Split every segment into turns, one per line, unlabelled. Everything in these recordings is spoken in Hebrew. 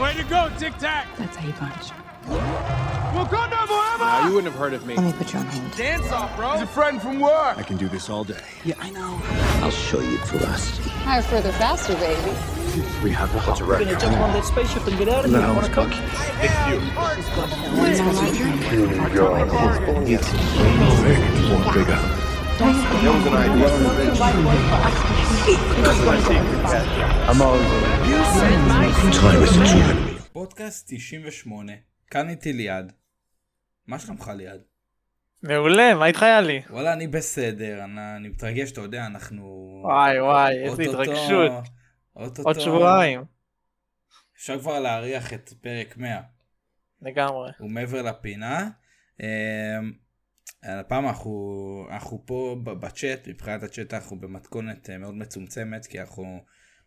Way to go, Tic Tac!
That's how you punch.
Wakanda forever!
Now, you wouldn't have heard of me.
Let me put you on hold.
Dance off, bro! He's a friend from work!
I can do this all day.
Yeah, I know.
I'll show you ferocity.
Higher, further, faster, baby.
We have a hot record. We're gonna jump on that spaceship and get out of here.
That was an idea.
פודקאסט 98, כאן איתי ליעד. מה שלומך ליעד?
מעולה, מה איתך יאלי?
וואלה, אני בסדר, אני, אני מתרגש, אתה יודע, אנחנו...
וואי וואי, איזה
אוטוטו-
התרגשות.
אוטוטו-
עוד שבועיים,
אפשר כבר להריח את פרק 100,
לגמרי.
הוא מעבר לפינה. אמ, הפעם אנחנו, אנחנו פה ב- בצ'אט, מבחינת הצ'אט אנחנו במתכונת אה, מאוד מצומצמת, כי אנחנו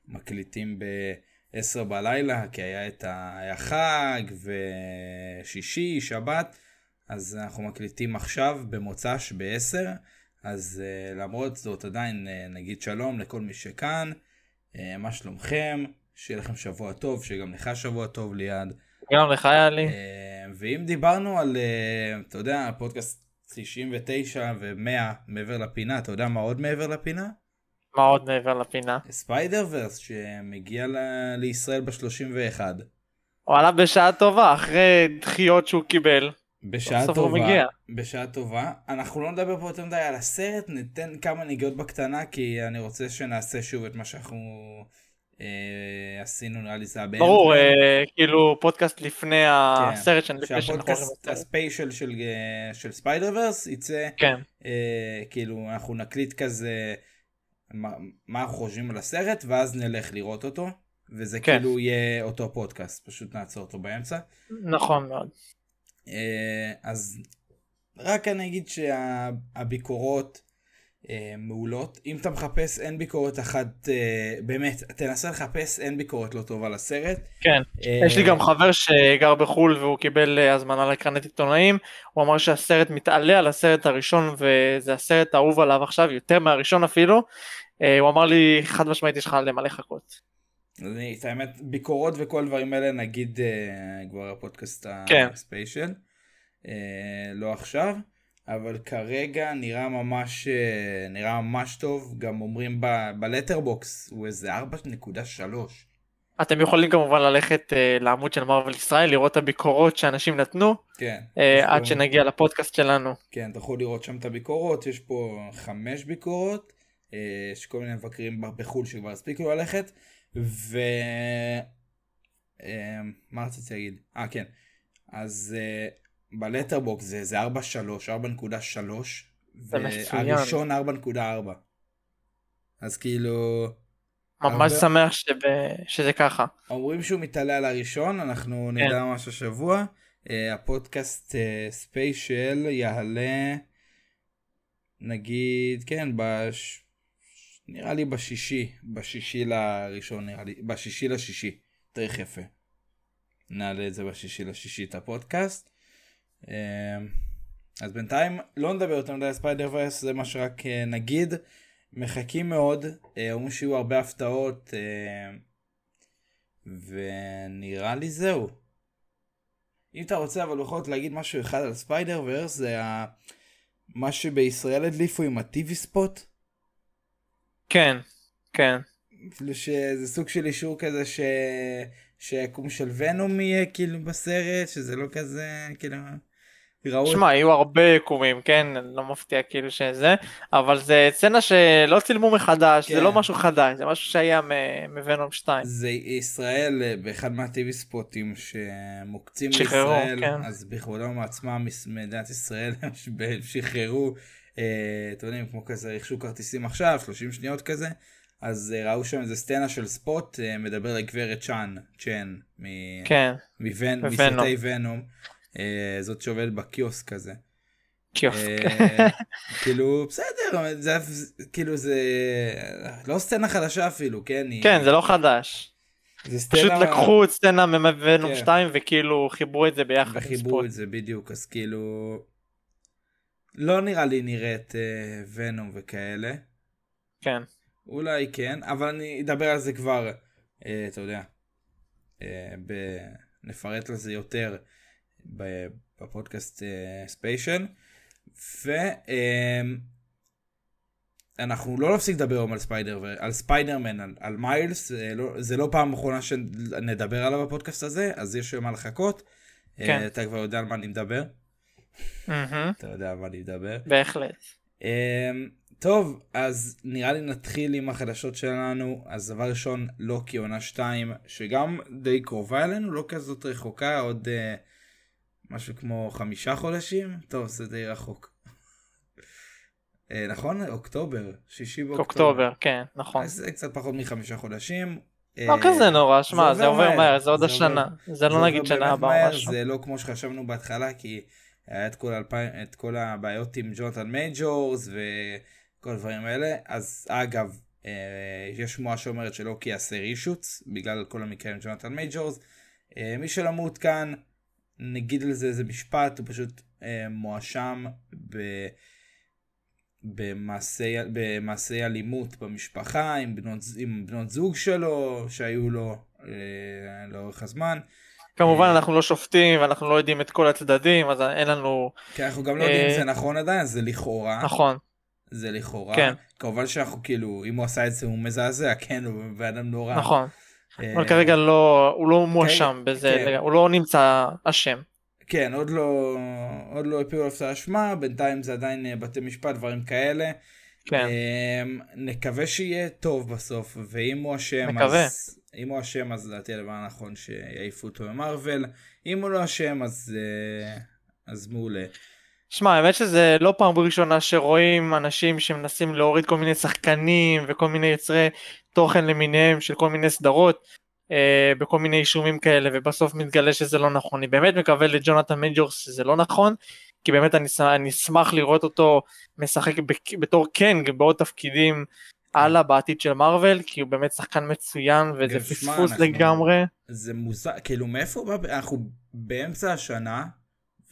מקליטים ב-10 בלילה, כי היה את ה... היה חג, ושישי, שבת, אז אנחנו מקליטים עכשיו במוצ"ש ב-10, אז אה, למרות זאת עדיין אה, נגיד שלום לכל מי שכאן, אה, מה שלומכם? שיהיה לכם שבוע טוב, שגם לך שבוע טוב ליעד.
גם לך יאלי?
אה, ואם דיברנו על, אה, אתה יודע, פודקאסט 99 ו-100 מעבר לפינה, אתה יודע מה עוד מעבר לפינה?
מה עוד מעבר לפינה?
ספיידר ורס שמגיע ל- לישראל ב-31.
הוא עלה בשעה טובה, אחרי דחיות שהוא קיבל.
אה, בשעה
סוף הוא
טובה,
לא מגיע.
בשעה טובה. אנחנו לא נדבר פה יותר מדי על הסרט, ניתן כמה נגיעות בקטנה, כי אני רוצה שנעשה שוב את מה שאנחנו אה, עשינו, נראה לי זה היה באנדמן.
ברור, אה, כאילו פודקאסט לפני הסרט שאני לפני שאנחנו
כן.
הולכים
שהפודקאסט
לסרט.
הספיישל של, אה, של ספיידר ורס יצא
כן,
אה, כאילו אנחנו נקליט כזה מה, מה אנחנו חושבים על הסרט ואז נלך לראות אותו וזה כן.
כן.
כאילו יהיה אותו פודקאסט פשוט נעצור אותו באמצע
נכון מאוד.
אה, אז רק אני אגיד שהביקורות אה, מעולות אם אתה מחפש אין ביקורת אחת אה, באמת תנסה לחפש אין ביקורת לא טוב על הסרט
כן,
אה,
יש לי גם חבר שגר בחול והוא קיבל אה, הזמנה לקרנט עיתונאים, הוא אמר שהסרט מתעלה על הסרט הראשון וזה הסרט האהוב עליו עכשיו, יותר מהראשון אפילו. אה, הוא אמר לי חד משמעית יש לך למה לחכות.
אני, את האמת, ביקורות וכל הדברים האלה נגיד אה, כבר הפודקאסט
כן.
הספיישל. אה, לא עכשיו, אבל כרגע נראה ממש, אה, נראה ממש טוב, גם אומרים ב- בלטרבוקס הוא איזה 4.3.
אתם יכולים כמובן ללכת אה, לעמוד של מרוויל ישראל, לראות את הביקורות שאנשים נתנו,
כן.
אה,
יש פה-
עד שנגיע לפודקאסט שלנו.
כן, אתה יכול לראות שם את הביקורות, יש פה חמש ביקורות, אה, יש כל מיני מבקרים ב- בחו"ל שכבר הספיקו ללכת, ו... אה, מה רציתי להגיד? אה, כן. אז אה, בלטרבוקס זה, זה 4.3, 4.3,
מצוין.
והראשון 4.4. אז כאילו,
ממש
הרבה-
שמח שב- שזה ככה.
אומרים שהוא מתעלה על הראשון, אנחנו נדע ממש השבוע. אה, הפודקאסט אה, ספיישל יעלה, נגיד, כן, בש... נראה לי בשישי, בשישי לראשון נראה לי, בשישי לשישי, תאריך יפה. נעלה את זה בשישי לשישי את הפודקאסט. אה, אז בינתיים לא נדבר יותר מדי על ספיידר ורס, זה מה שרק אה, נגיד. מחכים מאוד, אה, אומרים שיהיו הרבה הפתעות. אה, ונראה לי זהו. אם אתה רוצה אבל בכל זאת להגיד משהו אחד על ספיידר ורס זה ה... מה שבישראל הדליפו עם הטיווי ספוט,
כן, כן.
שזה סוג של אישור כזה ש... שהיקום של ונום יהיה כאילו בסרט, שזה לא כזה כאילו... ראו...
שמע, היו הרבה יקומים, כן? לא מפתיע כאילו שזה, אבל זה סצנה שלא צילמו מחדש,
כן.
זה לא משהו חדש, זה משהו שהיה מ- מוונום 2.
זה ישראל אה, באחד מהטיווי ספוטים שמוקצים
שחררו,
לישראל,
כן.
אז בכבודם עצמם מדינת ישראל הם שב- שחררו, אה, אתם יודעים, כמו כזה רכשו כרטיסים עכשיו, 30 שניות כזה, אז אה, ראו שם איזה סצנה של ספוט, אה, מדבר לגברת צ'אן, צ'ן, מ-
כן,
מוונ-
מוונום.
מסרטי ונום, אה, זאת שעובדת בקיוסק הזה.
קיוסק.
אה, כאילו בסדר זה כאילו זה לא סצנה חדשה אפילו כן היא-
כן, זה לא חדש.
זה סצנה
פשוט לקחו סצנה מוונום
כן.
2 וכאילו חיברו את זה ביחד. עם
וחיברו
ספוט.
את זה בדיוק אז כאילו לא נראה לי נראה את אה, ונום וכאלה
כן.
אולי כן אבל אני אדבר על זה כבר אה, אתה יודע אה, ב... נפרט על זה יותר ב- בפודקאסט אה, ספיישל. ואנחנו לא נפסיק לדבר היום על ספיידר, על ספיידרמן, על, על מיילס, אה, לא, זה לא פעם אחרונה שנדבר עליו בפודקאסט הזה, אז יש למה לחכות. אה,
כן.
אתה כבר יודע על מה אני מדבר,
מהמם,
אתה יודע על מה אני מדבר.
בהחלט.
אמ, טוב, אז נראה לי נתחיל עם החדשות שלנו. אז דבר ראשון, לוקי עונה 2, שגם די קרובה אלינו, לא כזאת רחוקה, עוד אה, משהו כמו חמישה חודשים? טוב, זה די רחוק. אה, נכון? אוקטובר, שישי באוקטובר.
אוקטובר, כן, נכון.
אז זה קצת פחות מחמישה חודשים.
לא
אה,
כזה נורא, שמע,
עובר
זה עובר
מהר,
מהר, זה עוד
זה עובר-
השנה. זה
זה
לא נגיד
עובר
שנה
באמת
הבאה
מהר,
או משהו.
זה לא כמו שחשבנו בהתחלה, כי היה את כל, אלפיים, את כל הבעיות עם ג'ונתן מייג'ורס וכל הדברים האלה. אז אגב, אה, יש שמועה שאומרת שלא כי יעשה רישוץ, בגלל כל המקרה עם ג'ונתן מייג'ורס. אה, מי שלא מעודכן, נגיד על זה איזה משפט, הוא פשוט אה, מואשם ב... במעשי, במעשי אלימות במשפחה עם בנות, עם בנות זוג שלו שהיו לו אה, לאורך הזמן.
כמובן אנחנו לא שופטים ואנחנו לא יודעים את כל הצדדים, אז אין לנו...
כי אנחנו גם לא יודעים אם
אה,
זה נכון עדיין, אז זה לכאורה.
נכון,
זה לכאורה.
כן.
כמובן שאנחנו כאילו, אם הוא עשה את זה הוא מזעזע, כן, הוא בן אדם נורא.
נכון.
אה,
אבל כרגע לא, הוא לא מואשם בזה,
כן.
לגמרי, הוא לא נמצא אשם.
כן, עוד לא, עוד לא הפילו עליו את האשמה, בינתיים זה עדיין אה, בתי משפט, דברים כאלה.
כן.
אמ, נקווה שיהיה טוב בסוף, ואם הוא אשם,
נקווה.
אז... אם הוא אשם, אז לדעתי הדבר הנכון שיעיפו אותו ממרוויל. אם הוא לא אשם, אז... אה, אז מעולה.
שמע, האמת שזה לא פעם ראשונה שרואים אנשים שמנסים להוריד כל מיני שחקנים וכל מיני יוצרי תוכן למיניהם של כל מיני סדרות אה, בכל מיני אישומים כאלה ובסוף מתגלה שזה לא נכון. אני באמת מקווה לג'ונתן מייג'ורס שזה לא נכון כי באמת אני, ש- אני אשמח לראות אותו משחק בק- בתור קנג בעוד תפקידים הלאה בעתיד של מארוול כי הוא באמת שחקן מצוין וזה
גם שמע,
פספוס
אנחנו-
לגמרי.
זה מוזר, כאילו מאיפה הוא בא, אנחנו באמצע השנה,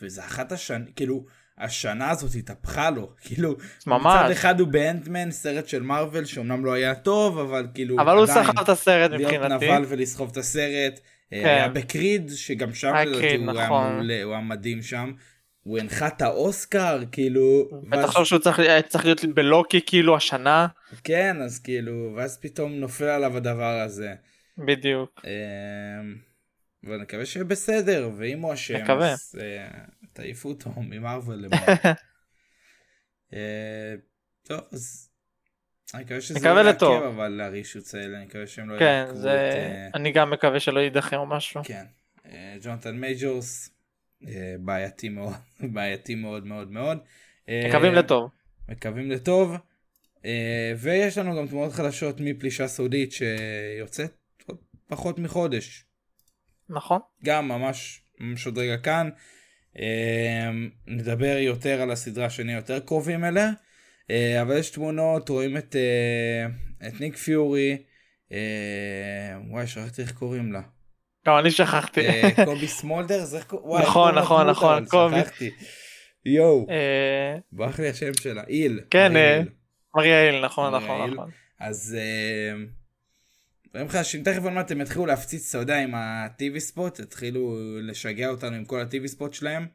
וזה אחת השנה, כאילו, השנה הזאת התהפכה לו, כאילו, מצד
ממש.
אחד הוא באנטמן, סרט של מארוול, שאומנם לא היה טוב, אבל כאילו,
אבל הוא
עדיין,
סחב את הסרט
להיות
מבחינתי.
נבל ולסחוב את הסרט, אה,
כן.
היה בקריד, שגם שם
היה
לדעתי
קריד,
הוא היה
נכון.
מעולה, הוא היה מדהים שם, הוא הנחה את האוסקר, כאילו, ואז-
ותחשוב לא שהוא צריך, היה צריך להיות בלוקי כאילו השנה
כן, אז כאילו, ואז פתאום נופל עליו הדבר הזה.
בדיוק
אמ, אבל נקווה שיהיה בסדר, ואם הוא אשם,
נקווה.
אז אה, תעיפו אותו ממרוויל למעלה. אה, טוב, אז אני מקווה שזה
נקווה
לא יעכב,
לטוב.
אבל הרישוץ האלה, אני מקווה שהם לא
כן
יעכבו
זה
את... אה,
אני לא גם מקווה שלא יידחה או משהו
כן. אה, ג'ונתן מייג'ורס, אה, בעייתי מאוד, בעייתי מאוד מאוד מאוד. אה,
מקווים לטוב
מקווים לטוב. אה, ויש לנו גם תמונות חדשות מפלישה סודית שיוצאת עוד פחות מחודש.
נכון
גם ממש, ממש עוד רגע כאן. אה, נדבר יותר על הסדרה שנהיה יותר קרובים אליה, אה, אבל יש תמונות, רואים את, אה, את ניק פיורי, אה, וואי, שכחתי איך קוראים לה.
גם אני שכחתי
אה, קובי סמולדרס, איך קוראים?
נכון, נכון, נכון, קובי.
שכחתי. יואו,
אה,
ברח לי השם שלה, איל.
כן, אה,
איל.
מריה איל נכון
מריה
נכון
איל.
נכון
אז... אה, אומרים לך שתכף עוד מעט הם יתחילו להפציץ, אתה יודע, עם ה-TV ספוט, יתחילו לשגע אותנו עם כל ה-TV ספוט שלהם.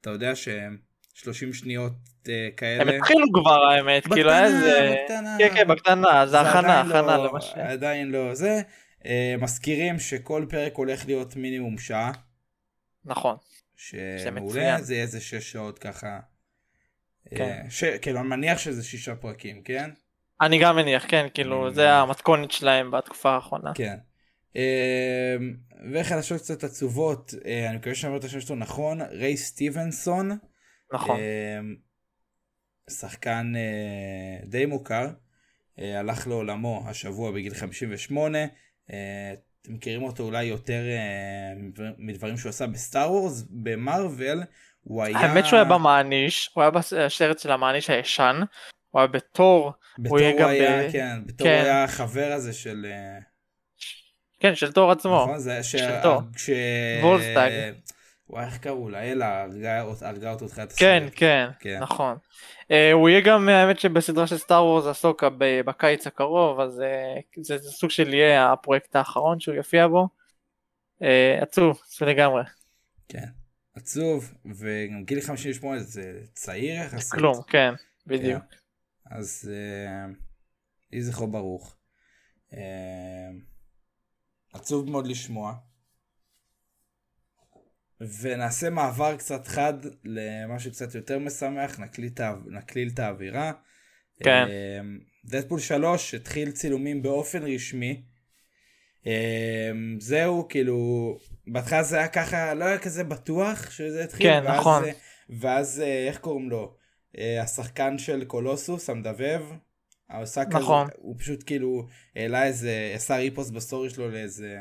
אתה יודע שהם 30 שניות אה, כאלה.
הם התחילו כבר האמת כאילו היה איזה
בקטנה.
כן כן בקטנה זה הכנה
עדיין
הכנה
לא-
למה ש...
עדיין לא זה. אה, מזכירים שכל פרק הולך להיות מינימום שעה,
נכון
שמעולה,
מצוין.
זה איזה 6 שעות ככה. אה,
כן.
ש- כאילו, אני מניח שזה שישה פרקים, כן?
אני גם מניח כן כאילו
אני
זה
מניח.
המתכונת שלהם בתקופה האחרונה
אה. כן. אמ, וחדשות קצת עצובות, אה, אני מקווה שאני אומר את השם שלו נכון, ריי סטיבנסון,
נכון
אמ, שחקן אה, די מוכר, אה, הלך לעולמו השבוע בגיל 58, אה, אתם מכירים אותו אולי יותר אה, מדבר- מדברים שהוא עשה בסטאר וורס, במרוויל, הוא היה...
האמת שהוא היה במעניש הוא היה בסרט של המעניש הישן הוא היה בתור
בתור
הוא
הוא
יהיה גם
היה,
ב-
כן, בתור
כן.
הוא היה החבר הזה של... אה,
כן של תור עצמו
נכון, זה היה ש...
שלטו.
כש...
וולפסטייג.
וואי, איך קראו לה? אלה הרגה אות- הרגה אותו תחילת
כן,
הסרט.
כן,
כן.
נכון. אה, הוא יהיה גם, האמת שבסדרה של סטאר וורז עסוקה ב- בקיץ הקרוב, אז אה, זה זה סוג של יהיה הפרויקט האחרון שהוא יופיע בו. אה, עצוב, עצוב לגמרי,
כן. עצוב, וגם גיל 58 זה צעיר יחסית.
כלום, כן,
כן.
בדיהו
אז אה, יהי זכרו ברוך. אה, עצוב מאוד לשמוע. ונעשה מעבר קצת חד למשהו קצת יותר משמח, נקליל את האו- נקליל את האווירה.
כן.
דדפול 3 התחיל צילומים באופן רשמי. אה, זהו, כאילו, בהתחלה זה היה ככה, לא היה כזה בטוח שזה התחיל.
כן,
ואז,
נכון.
אה, ואז אה, איך קוראים לו? אה, השחקן של קולוסוס, המדבב, עשה כזה,
נכון.
הוא פשוט כאילו העלה איזה, עשה ריפוס בסטורי שלו לאיזה,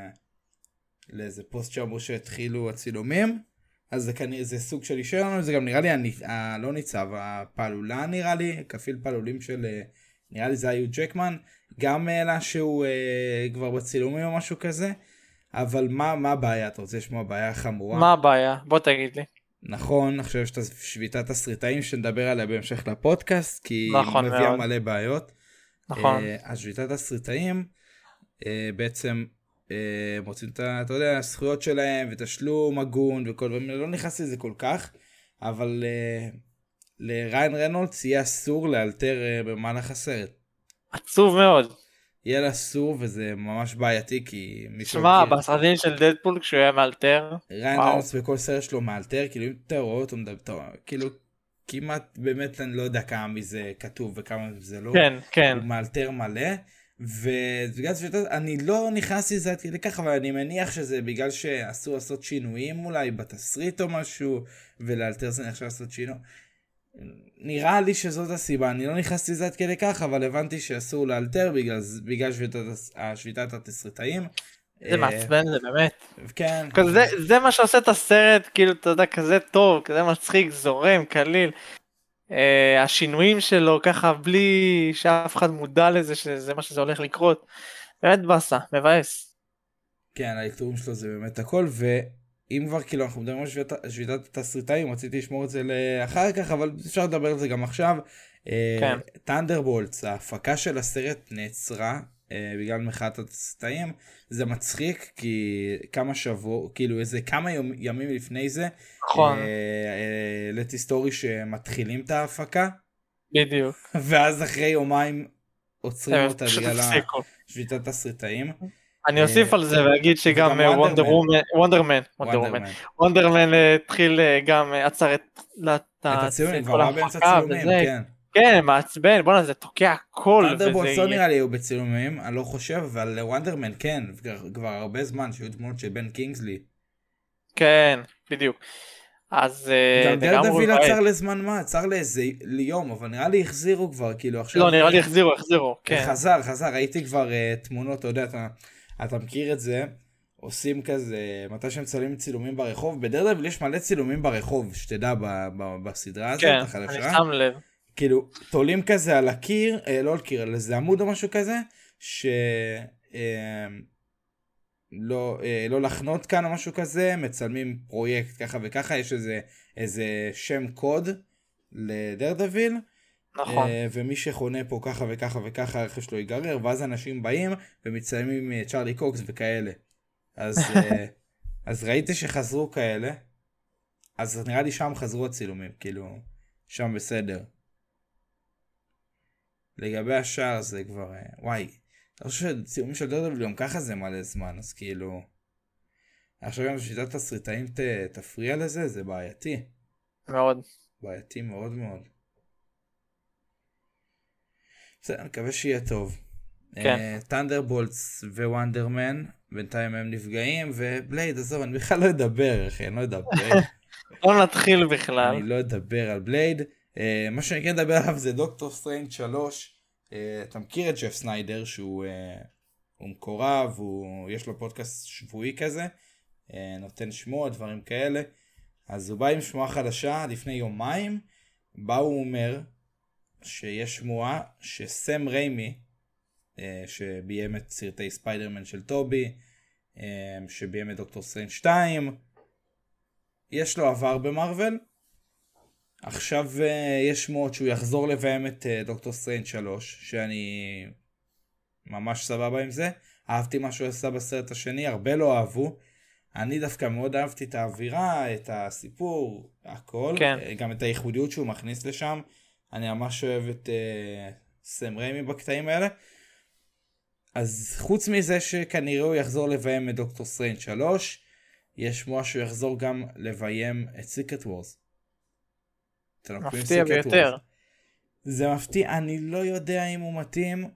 לאיזה פוסט שאמרו שהתחילו הצילומים, אז זה כנראה, זה סוג של אישר לנו, זה גם נראה לי, הני, ה, לא ניצב, הפעלולה נראה לי, כפיל פעלולים של, אה, נראה לי זה היו ג'קמן, גם העלה שהוא אה, כבר בצילומים או משהו כזה, אבל מה, מה הבעיה? אתה רוצה לשמוע בעיה חמורה?
מה הבעיה? בוא תגיד לי.
נכון, עכשיו יש את שביתת תסריטאים שנדבר עליה בהמשך לפודקאסט, כי
נכון
היא מביאה
מאוד.
מלא בעיות.
נכון.
אה, אז שביתת תסריטאים, אה, בעצם אה, מוצאים את, ה- אתה יודע, הזכויות שלהם, ותשלום הגון וכל דברים, אני לא נכנס לזה כל כך, אבל אה, לריין רנולדס יהיה אסור לאלתר אה, במהלך הסרט.
עצוב מאוד.
יהיה לה אסור וזה ממש בעייתי, כי מי
שמע,
שמכיר-
בסרטים של דדפול כשהוא היה מאלתר,
ריין
וואו.
רנולדס בכל סרט שלו מאלתר, כאילו אם אתה רואה אותו מדבר, אתה- כאילו כמעט באמת אני לא יודע כמה מזה כתוב וכמה מזה לא,
כן, כן,
הוא מאלתר מלא, ובגלל שאתה, אני לא נכנסתי לזה עד כדי כך, אבל אני מניח שזה בגלל שאסור לעשות שינויים אולי בתסריט או משהו, ולאלתר זה נחשב לעשות שינוי. נראה לי שזאת הסיבה, אני לא נכנסתי לזה עד כדי כך, אבל הבנתי שאסור לאלתר בגלל, בגלל שביתת, הס- השביתת התסריטאים.
זה מעצבן, זה באמת.
אה, כן.
כזה, זה מה שעושה את הסרט, כאילו, אתה יודע, כזה טוב, כזה מצחיק, זורם, קליל. אה, השינויים שלו ככה בלי שאף אחד מודע לזה שזה מה שזה הולך לקרות. באמת באסה, מבאס.
כן, האלתורים שלו זה באמת הכל, ואם כבר כאילו אנחנו מדברים על שביתת, שביתת התסריטאים, רציתי לשמור את זה לאחר כך, אבל אפשר לדבר על זה גם עכשיו.
כן.
טנדרבולטס, ההפקה של הסרט נעצרה אה, בגלל מחאת התסריטאים. זה מצחיק, כי כמה שבוע, כאילו איזה כמה יום, ימים לפני זה,
נכון,
אה, אה, העליתי סטורי שמתחילים את ההפקה,
בדיוק.
ואז אחרי יומיים עוצרים
הם
אותה
אה, פשוט
בגלל
הפסיקו.
שביתת תסריטאים. אה,
אני אוסיף על זה ואגיד שגם אה,
וגם וונדר
וונדר
מן.
וומן,
Wonder
וונדרמן, וונדרמן,
Man.
וונדרמן אה, התחיל אה, גם אה, עצר את לה-
את
את
הציונים, כבר
כל
היה באמצע
ההפקה
צילומים,
וזה.
כן.
כן, מעצבן, בואנה זה תוקע הכל. וזה
תנדרבולטס לא
יהיה-
נראה לי היו בצילומים, אני לא חושב, אבל וונדרמן כן, כבר- כבר הרבה זמן שהיו תמונות של בן קינגסלי.
כן, בדיוק. אז אה,
גם לא
לגמרי
דרדוויל עצר
בעייתי.
לזמן מה, עצר לאיזה ליום, אבל נראה לי החזירו כבר, כאילו עכשיו...
לא, נראה לי החזירו, החזירו, כן.
חזר, חזר, ראיתי כבר אה, תמונות, אתה יודע, אתה- אתה מכיר את זה, עושים כזה, מתי שהם צולמים צילומים ברחוב, בדרדוויל יש מלא צילומים ברחוב, שתדע, ב- ב- בסדרה הזאת,
כן, אני
החדשה.
שם לב.
כאילו, תולים כזה על הקיר, אה, לא על קיר, על איזה עמוד או משהו כזה, ש... אה, לא, אה, לא לחנות כאן או משהו כזה, מצלמים פרויקט ככה וככה, יש איזה, איזה שם קוד לדרדוויל,
נכון,
אה, ומי שחונה פה ככה וככה וככה, הרכב שלו ייגרר, ואז אנשים באים ומצלמים אה, צ'ארלי קוקס וכאלה. אז, אה, אז ראיתי שחזרו כאלה, אז נראה לי שם חזרו הצילומים, כאילו, שם בסדר. לגבי השאר זה כבר, אה, וואי, אני חושב שצילומים של דודו גם ככה זה מלא זמן, אז כאילו... עכשיו גם שיטת תסריטאים ת- תפריע לזה, זה בעייתי. אה,
מאוד.
בעייתי מאוד מאוד. בסדר, אני מקווה שיהיה טוב.
כן.
טנדרבולטס ווונדרמן, בינתיים הם נפגעים, ובלייד, עזוב, אני בכלל לא אדבר, אחי, אני לא אדבר.
לא נתחיל בכלל.
אני לא אדבר על בלייד. אה, מה שאני כן אדבר עליו זה דוקטור סטרנג 3. אה, אתה מכיר את ג'ף סניידר שהוא אה, הוא מקורב, הוא, יש לו פודקאסט שבועי כזה, אה, נותן שמוע, דברים כאלה. אז הוא בא עם שמועה חדשה לפני יומיים, בה הוא אומר שיש שמועה שסם ריימי, אה, שביים את סרטי ספיידרמן של טובי, אה, שביים את דוקטור סטרנג 2, יש לו עבר במרוויל. עכשיו אה, יש שמועות שהוא יחזור לביים את אה, דוקטור סטריינד 3, שאני ממש סבבה עם זה. אהבתי מה שהוא עשה בסרט השני, הרבה לא אהבו. אני דווקא מאוד אהבתי את האווירה, את הסיפור, הכל.
כן.
אה, גם את הייחודיות שהוא מכניס לשם. אני ממש אוהב את אה, סם ריימי בקטעים האלה. אז חוץ מזה שכנראה הוא יחזור לביים את דוקטור סטריינד 3, יש שמועה שהוא יחזור גם לביים את סיקרט וורס.
מפתיע ביותר.
זה מפתיע, אני לא יודע אם הוא מתאים.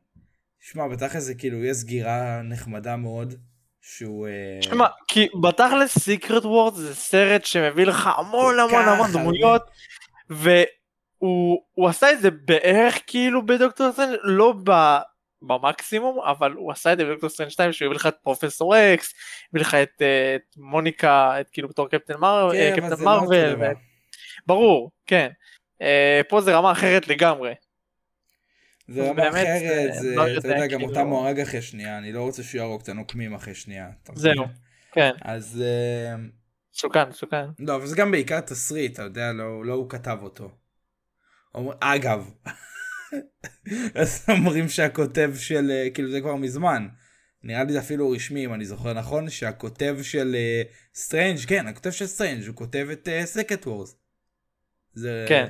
שמע, בתכל'ס זה כאילו, יש סגירה נחמדה מאוד, שהוא... אה,
שמע, כי בתכלס סיקרט וורד זה סרט שמביא לך המון
כל
המון
כך
המון
הרבה.
דמויות, והוא הוא עשה את זה בערך כאילו בדוקטור סטרנד, לא ב, במקסימום, אבל הוא עשה את זה בדוקטור סטרנד 2, שהוא הביא לך את פרופסור אקס, הביא לך את, אה, את מוניקה, את כאילו בתור קפטן מר- אה,
כן, אבל
קפטן
זה לא אותו
מרוויל,
דבר.
ו- ברור, כן. אה, פה זה רמה אחרת לגמרי.
זה
אז
רמה
באמת,
אחרת,
אה,
זה,
לא
אתה
יודע,
יודע, גם
כאילו-
אותה מוארג אחרי שנייה, אני לא רוצה שהוא יהרוג את הנוקמים אחרי שנייה. אתה מבין?
זהו, כן.
אז... אה,
מסוכן, מסוכן.
לא, אבל זה גם בעיקר תסריט, אתה יודע, לא, לא הוא כתב אותו. אומר, אגב, אז אומרים שהכותב של, אה, כאילו זה כבר מזמן, נראה לי זה אפילו רשמי אם אני זוכר נכון, שהכותב של אה, סטרנג', כן, הכותב של סטרנג', הוא כותב את סקט וורס. זה
כן.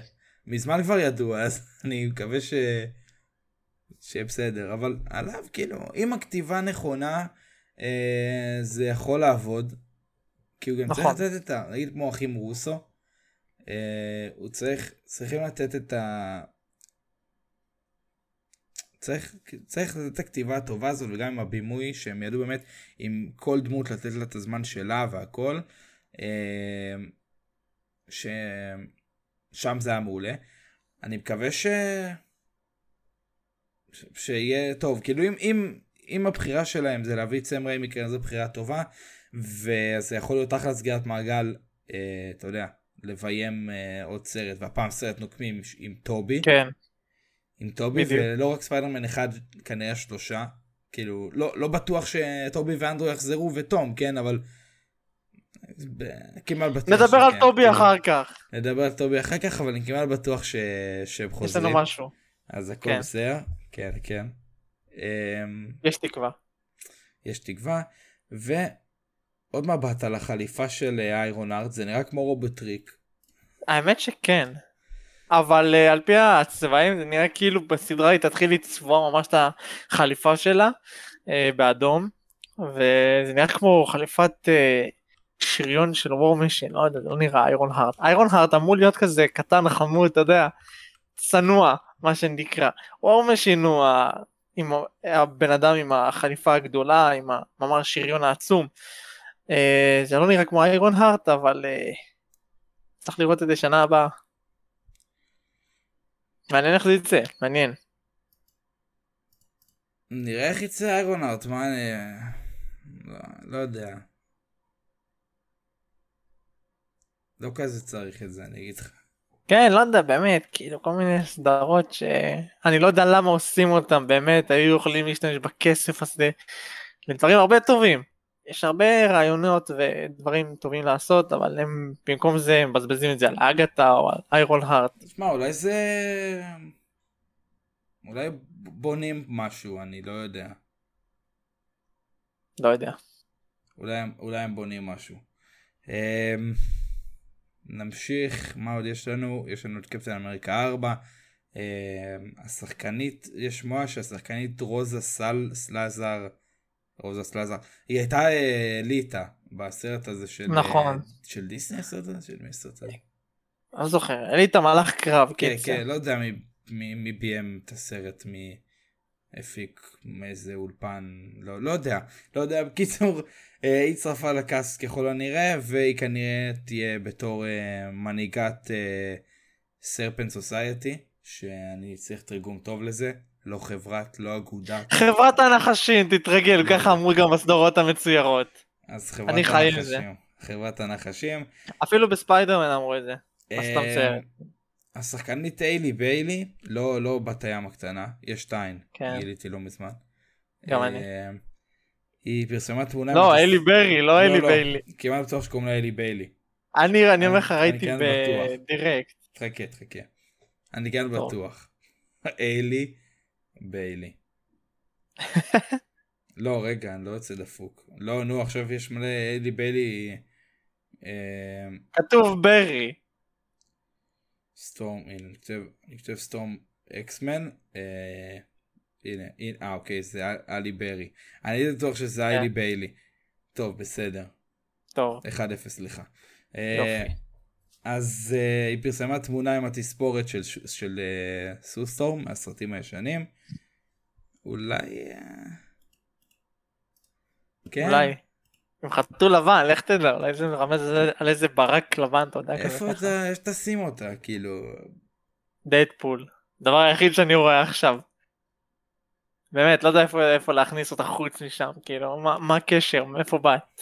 מזמן כבר ידוע, אז אני מקווה ש... שיהיה בסדר, אבל עליו כאילו, אם הכתיבה נכונה, אה, זה יכול לעבוד. כי הוא גם
נכון.
צריך לתת את ה... נגיד כמו אחים רוסו, אה, הוא צריך, צריכים לתת את ה... צריך, צריך לתת את הכתיבה הטובה הזאת וגם עם הבימוי שהם ידעו באמת עם כל דמות לתת לה את הזמן שלה והכל. אה, ש... שם זה היה מעולה. אני מקווה ש... ש... שיהיה טוב. כאילו אם, אם, אם הבחירה שלהם זה להביא את סם ריימי כן זו בחירה טובה, וזה יכול להיות אחלה סגירת מעגל, אה, אתה יודע, לביים אה, עוד סרט, והפעם סרט נוקמים עם, עם טובי.
כן,
עם טובי,
בדיוק.
ולא רק ספיידרמן אחד, כנראה שלושה. כאילו, לא, לא בטוח שטובי ואנדרו יחזרו ותום, כן, אבל... ב- כמעט בטוח.
נדבר על
שכן.
טובי
כאילו,
אחר כך,
נדבר על טובי אחר כך, אבל אני כמעט בטוח ש... שהם
יש
חוזרים.
לנו משהו,
אז הכל
כן.
בסדר. כן, כן. אמ,
יש תקווה.
יש תקווה. ועוד מבט על החליפה של אה, איירון ארט, זה נראה כמו רובוטריק.
האמת שכן. אבל אה, על פי הצבעים זה נראה כאילו בסדרה היא תתחיל לצבוע ממש את החליפה שלה אה, באדום וזה נראה כמו חליפת אה, שריון של וור משן, לא יודע, זה לא נראה איירון הארט. איירון הארט אמור להיות כזה קטן חמוד, אתה יודע, צנוע, מה שנקרא. וור משן הוא ה... עם ה- הבן אדם עם החליפה הגדולה, עם ה- ממש השריון העצום. אה, זה לא נראה כמו איירון הארט, אבל... אה, צריך לראות את זה שנה הבאה. מעניין איך זה יצא, מעניין.
נראה איך יצא איירון ארט, מה אני... לא, לא יודע. לא כזה צריך את זה, אני אגיד לך.
כן, לא יודע, באמת, כאילו, כל מיני סדרות שאני לא יודע למה עושים אותם, באמת, היו יכולים להשתמש בכסף הזה לדברים הרבה טובים. יש הרבה רעיונות ודברים טובים לעשות, אבל הם, במקום זה, הם מבזבזים את זה על אגתה או על איירון הארט.
תשמע, אולי זה... אולי בונים משהו, אני לא יודע.
לא יודע.
אולי, הם- אולי הם בונים משהו. אמ, נמשיך, מה עוד יש לנו? יש לנו את קפטן אמריקה 4. אמ, השחקנית, יש שמועה שהשחקנית רוזה סל סלאזר, רוזה סלאזר, היא הייתה אה, ליטא בסרט הזה של... אה,
נכון.
של דיסני הסרט הזה? של מי הסרט הזה?
אני לא זוכר, היה לי את המהלך קרב, כאילו.
כן,
קיצר.
כן, לא יודע מי, מי, מי ביים את הסרט, מי הפיק מאיזה אולפן, לא, לא יודע, לא יודע, בקיצור, אה, היא הצטרפה לקאסט ככל הנראה, והיא כנראה תהיה בתור אה, מנהיגת אה, סרפנט סוסייטי, שאני צריך תרגום טוב לזה, לא חברת, לא אגודה,
חברת הנחשים, תתרגל, ככה אמרו גם בסדרות המצוירות.
אז חברת
אני חי עם זה.
הנחשים, חברת הנחשים.
אפילו בספיידרמן אמרו את זה. אז אתה מצייר.
אה, השחקנית איילי ביילי, לא, לא בת הים הקטנה, יש שתיים,
כן.
גיליתי לא מזמן.
גם
אה,
אני.
היא פרסמה תמונה.
לא,
מתס-
אלי ברי, לא אלי
לא.
ביילי.
כמעט בטוח שקוראים לה אלי ביילי.
אני אני אומר לך,
אני
ראיתי
כאן בטוח.
בדירקט.
חכה, חכה. אני כאן
טוב.
בטוח. איילי, ביילי. לא, רגע, אני לא יוצא דפוק. לא, נו, עכשיו יש מלא איילי ביילי. אה,
כתוב ברי.
סטורם, הנה, אני כותב- אני כותב סטורם אקסמן. אה, הנה, הנה, אה, אוקיי, זה אל- אלי ברי. אני הייתי בטוח שזה
כן.
איילי ביילי. טוב, בסדר.
טוב.
1-0, סליחה. אה, אז אה, היא פרסמה תמונה עם התספורת של, ש- של אה, סוסטורם, מהסרטים הישנים. אולי... אה, כן?
אולי. הם חטאו לבן, לך תדע, אולי זה מרמז על איזה ברק לבן, אתה יודע, כזה
איפה
ככה.
אתה, איך תשים אותה, כאילו...
דדפול. הדבר היחיד שאני רואה עכשיו. באמת, לא יודע איפה, איפה להכניס אותה חוץ משם, כאילו, מה, מה הקשר, מאיפה באת?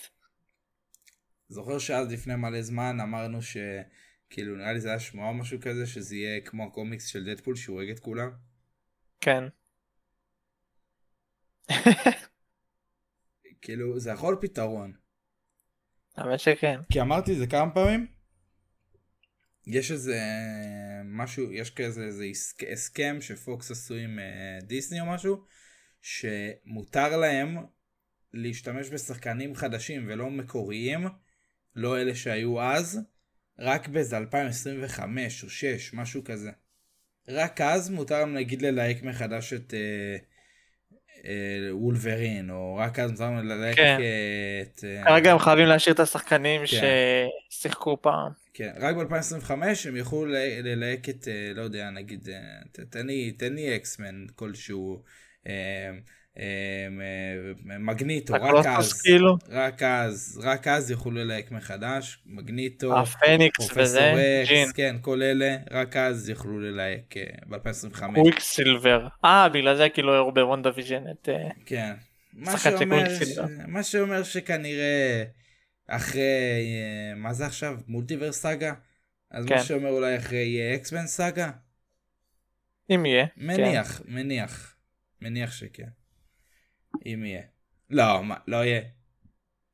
זוכר שאז לפני מלא זמן אמרנו ש... כאילו, נראה לי זה היה שמועה או משהו כזה, שזה יהיה כמו הקומיקס של דדפול שהוא הורג את כולם.
כן.
כאילו, זה יכול פתרון.
האמת שכן.
כי אמרתי את זה כמה פעמים. יש איזה אה, משהו, יש כזה איזה הסק- הסכם שפוקס עשו עם אה, דיסני או משהו, שמותר להם להשתמש בשחקנים חדשים ולא מקוריים, לא אלה שהיו אז, רק באיזה 2025 או 6, משהו כזה. רק אז מותר להם להגיד ללהק מחדש את אה, אה, וולברין, או רק אז מותר להם ללהק
כן.
אה, את... אה,
כרגע הם חייבים להשאיר את השחקנים
כן.
ששיחקו פעם.
כן, רק ב-2025 הם יוכלו ל- ללהק את, אה, לא יודע, נגיד, אה, ת- תן לי, תן לי אקסמן כלשהו, אה, אה, אה, מגניטו, רק אז,
הקולוסוס כאילו,
רק אז, רק אז יוכלו ללהק מחדש, מגניטו,
הפניקס
פרופסור
וזה, ג'ין,
אקס, כן, כל אלה, רק אז יוכלו ללהק אה, ב-2025,
קוויק סילבר. אה, בגלל זה כאילו הראו בוונדה ויז'ן את... אה,
כן, מה
שחקן
שאומר
שקוראים
ש-
סילבה.
מה שאומר שכנראה אחרי, אה, מה זה עכשיו, מולטיברס סאגה? אז מה
כן.
שאומר אולי אחרי אקסמן סאגה?
אם יהיה. כן.
מניח, מניח, מניח שכן. אם יהיה. לא, מה, לא יהיה.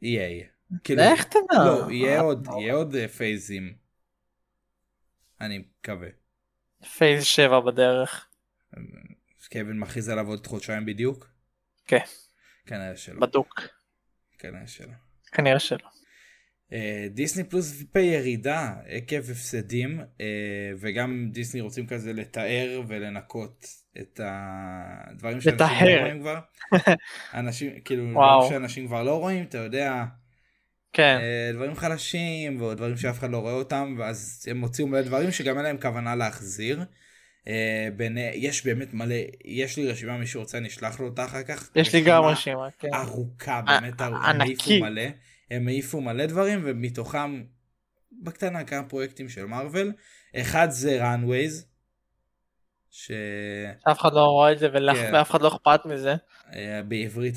יהיה, יהיה. כאילו,
לך תדע.
לא, יהיה עוד, יהיה עוד אה, פייזים. אני מקווה.
כן. פייז 7 בדרך.
קווין מכריז עליו עוד חודשיים בדיוק?
כן.
כנראה שלא,
בדוק.
כנראה שלא.
כנראה שלא.
אה, דיסני פלוס בירידה עקב הפסדים אה, וגם דיסני רוצים כזה לתאר ולנקות את הדברים שאנשים לא
לטהר.
רואים כבר. אנשים כאילו
וואו.
דברים שאנשים כבר לא רואים אתה יודע
כן.
אה, דברים חלשים ודברים שאף אחד לא רואה אותם ואז הם הוציאו מלא דברים שגם אין להם כוונה להחזיר. אה, בין, יש באמת מלא יש לי רשימה מי שרוצה אני אשלח לו אותה אחר כך.
יש לי גם
רשימה
רשימה, כן.
ארוכה, באמת ארוכה, הם
ענקית.
העיפו מלא, הם העיפו מלא דברים, ומתוכם, בקטנה, כמה פרויקטים של מארוול. אחד זה runways, שבעברית
אף אחד לא רואה את זה ולאף
אה. כן.
ואף אחד לא אכפת מזה.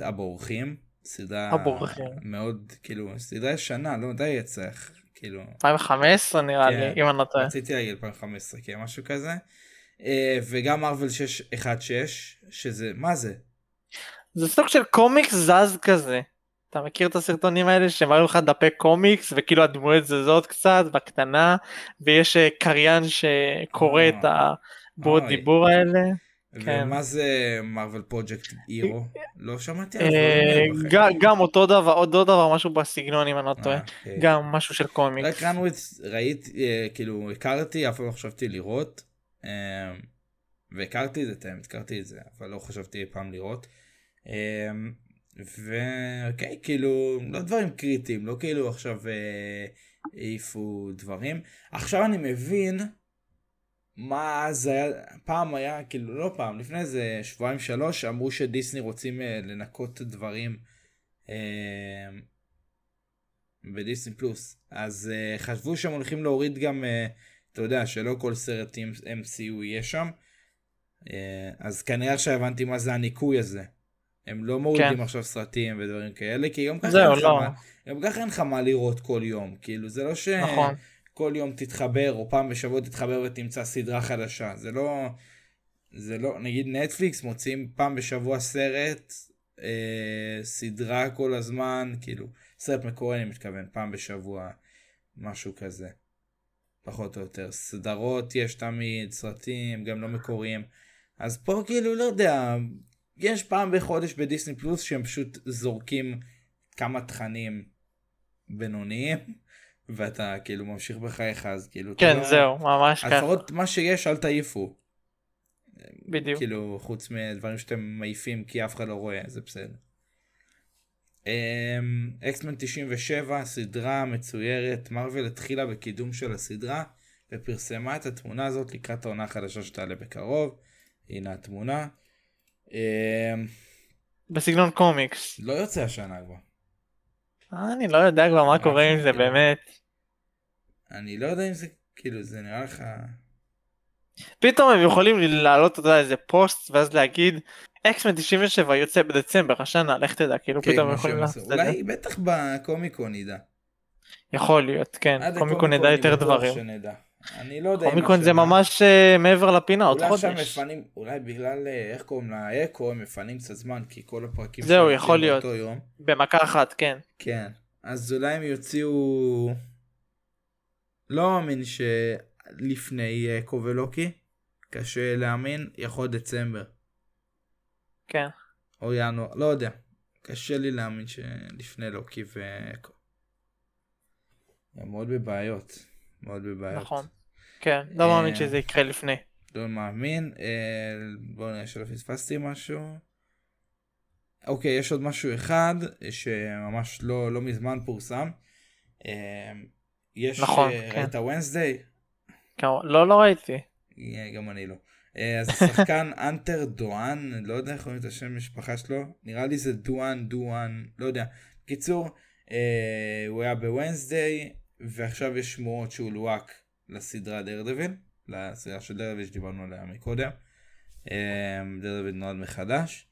הבורחים, סדרה
הבורחים.
מאוד, כאילו, סדרה ישנה, לא מתי יצא, כאילו,
2015 נראה
כן.
לי, אם אני לא טועה.
רציתי להגיד 2015, כן, משהו כזה. אה, וגם מארוול 616, שזה, מה זה?
זה סוג של קומיקס זז כזה. אתה מכיר את הסרטונים האלה שמראים לך דפי קומיקס וכאילו הדמויות זזות קצת בקטנה ויש אה, קריין שקורא
אה.
את הבורות
אוי.
דיבור האלה. כן.
ומה זה מרוויל פרויקט אירו? לא שמעתי על זה.
אה,
לא יודע
ג- גם אותו דבר אותו דבר משהו בסגנון אם אני לא
בכלל.
טועה.
אה, אוקיי.
גם משהו של
רק
קומיקס.
רנוויץ ראיתי, אה, כאילו הכרתי, אף פעם לא חשבתי לראות. אה, והכרתי את זה, את האמת, הכרתי את זה, אבל לא חשבתי אי פעם לראות. אה, ואוקיי, כאילו, לא דברים קריטיים, לא כאילו עכשיו אה, העיפו דברים. עכשיו אני מבין מה אז היה, פעם היה, כאילו, לא פעם, לפני איזה שבועיים שלוש, אמרו שדיסני רוצים אה, לנקות דברים. אה, בדיסני פלוס. אז uh, חשבו שהם הולכים להוריד גם, uh, אתה יודע, שלא כל סרט MCU יהיה שם. Uh, אז כנראה עכשיו הבנתי מה זה הניקוי הזה. הם לא מורידים
כן.
עכשיו סרטים ודברים כאלה, כי גם ככה,
זהו
אין לך
לא.
מה, גם ככה אין לך מה לראות כל יום. כאילו, זה לא ש...
נכון.
כל יום תתחבר, או פעם בשבוע תתחבר ותמצא סדרה חדשה. זה לא... זה לא... נגיד נטפליקס מוציאים פעם בשבוע סרט, אה, סדרה כל הזמן, כאילו, סרט מקורי אני מתכוון, פעם בשבוע. משהו כזה. פחות או יותר. סדרות יש תמיד, סרטים, גם לא מקוריים. אז פה כאילו, לא יודע, יש פעם בחודש בדיסני פלוס שהם פשוט זורקים כמה תכנים בינוניים, ואתה כאילו ממשיך בחייך, אז כאילו... אתה
כן,
לא-
זהו, ממש
אז
כן,
לפחות מה שיש, אל תעיפו.
בדיוק.
כאילו, חוץ מדברים שאתם מעיפים כי אף אחד לא רואה, זה בסדר. אמ, אקסמן 97, סדרה מצוירת, מרוויל התחילה בקידום של הסדרה ופרסמה את התמונה הזאת לקראת העונה החדשה שתעלה בקרוב. הנה התמונה. אמ,
בסגנון קומיקס.
לא יוצא השנה כבר.
אה, אני לא יודע כבר מה
אה,
קורה עם זה,
כאילו.
באמת.
אני לא יודע אם זה, כאילו, זה נראה לך...
פתאום הם יכולים להעלות אתה יודע, איזה פוסט ואז להגיד אקסמן 97 יוצא בדצמבר השנה לך תדע כאילו
כן,
פתאום הם
כמו
יכולים
שהם
לעשות
עשו.
את זה.
אולי, בטח בקומיקון נדע.
יכול להיות כן
עד
קומיקון
הקומיקון
נדע
אני
יותר
בטוח
דברים.
שנדע. אני לא יודע אם
קומיקון זה
השנה-
ממש אה, מעבר לפינה עוד
אולי עכשיו
חודש.
מפנים, אולי בגלל, אה, איך קוראים לה, אקו, הם מפנים קצת זמן, כי כל הפרקים
זהו,
שלהם יוצאים
יכול להיות.
באותו יום.
במכה אחת כן.
כן. אז אולי הם יוציאו... לא מאמין שלפני אקו ולוקי. קשה להאמין, יכול להיות דצמבר.
כן.
או ינואר, לא יודע. קשה לי להאמין שלפני לוקי ואקו. הם מאוד בבעיות. מאוד בבעיות.
נכון. כן לא
אה,
מאמין שזה יקרה לפני.
לא מאמין. אה, בואו נראה שלא פספסתי משהו. אוקיי, יש עוד משהו אחד אה, שממש לא, לא מזמן פורסם. אה, יש,
נכון,
אה,
כן.
ראית וונסדיי?
כמה- לא לא ראיתי.
אה, גם אני לא. אה, אז השחקן אנטר דואן, לא יודע איך קוראים את השם משפחה שלו, נראה לי זה דואן, דואן, לא יודע. בקיצור, אה, הוא היה בוונסדיי, ועכשיו יש שמועות שהוא לוהק לסדרה דרדוויל, לסדרה של דרדוויל שדיברנו עליה מקודם. אה, דרדוויל נולד מחדש.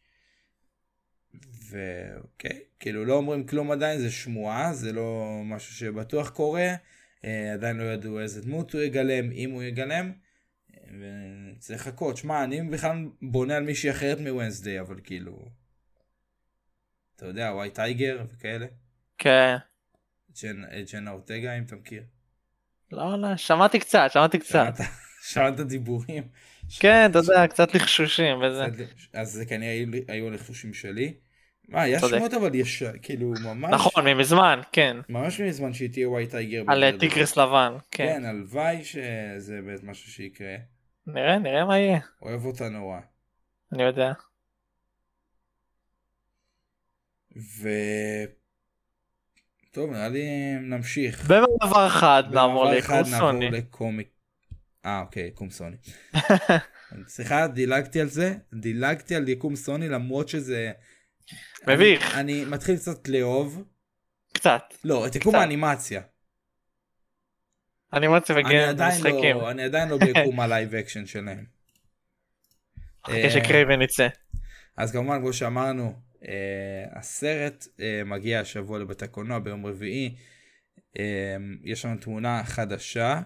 ואוקיי, כאילו לא אומרים כלום עדיין, זה שמועה, זה לא משהו שבטוח קורה. אה, עדיין לא ידעו איזה דמות הוא יגלם, אם הוא יגלם. וצריך לחכות. שמע, אני בכלל בונה על מישהי אחרת מוונסדיי, אבל כאילו... אתה יודע, וואי טייגר וכאלה.
כן.
ג'ן, אה, ג'נה אורטגה, אם אתה מכיר.
לא לא שמעתי קצת שמעתי קצת.
שמעת- שמעת דיבורים.
כן אתה יודע קצת לחשושים וזה.
אז זה כנראה היו לי- היו הלחושים שלי. מה, היה
צודק.
שמות אבל יש... כאילו, ממש...
נכון ממזמן כן.
ממש מזמן שהיא תהיה וואי טייגר.
על אה,
בגדול.
טיגרס לבן. כן.
כן, הלוואי שזה באמת משהו שיקרה.
נראה נראה מה יהיה.
אוהב אותה נורא.
אני יודע.
ו... טוב, נראה לי נמשיך.
במעבר אחד נעבור
במעבר אחד
לקורסוני.
נעבור לקומיק. אה, אוקיי, יקום סוני. סליחה, דילגתי על זה, דילגתי על יקום סוני למרות שזה...
מביך.
אני, אני מתחיל קצת לאהוב.
קצת.
לא, את יקום
קצת.
האנימציה.
אני מוצא
אני
מגן
עדיין
משחקים.
לא, אני עדיין לא ביקום הלייב אקשן שלהם. אה,
חכה שקרייבן יצא.
אז כמובן, כמו שאמרנו, אה, הסרט אה, מגיע השבוע לבית הקולנוע ביום רביעי. אה, יש לנו תמונה חדשה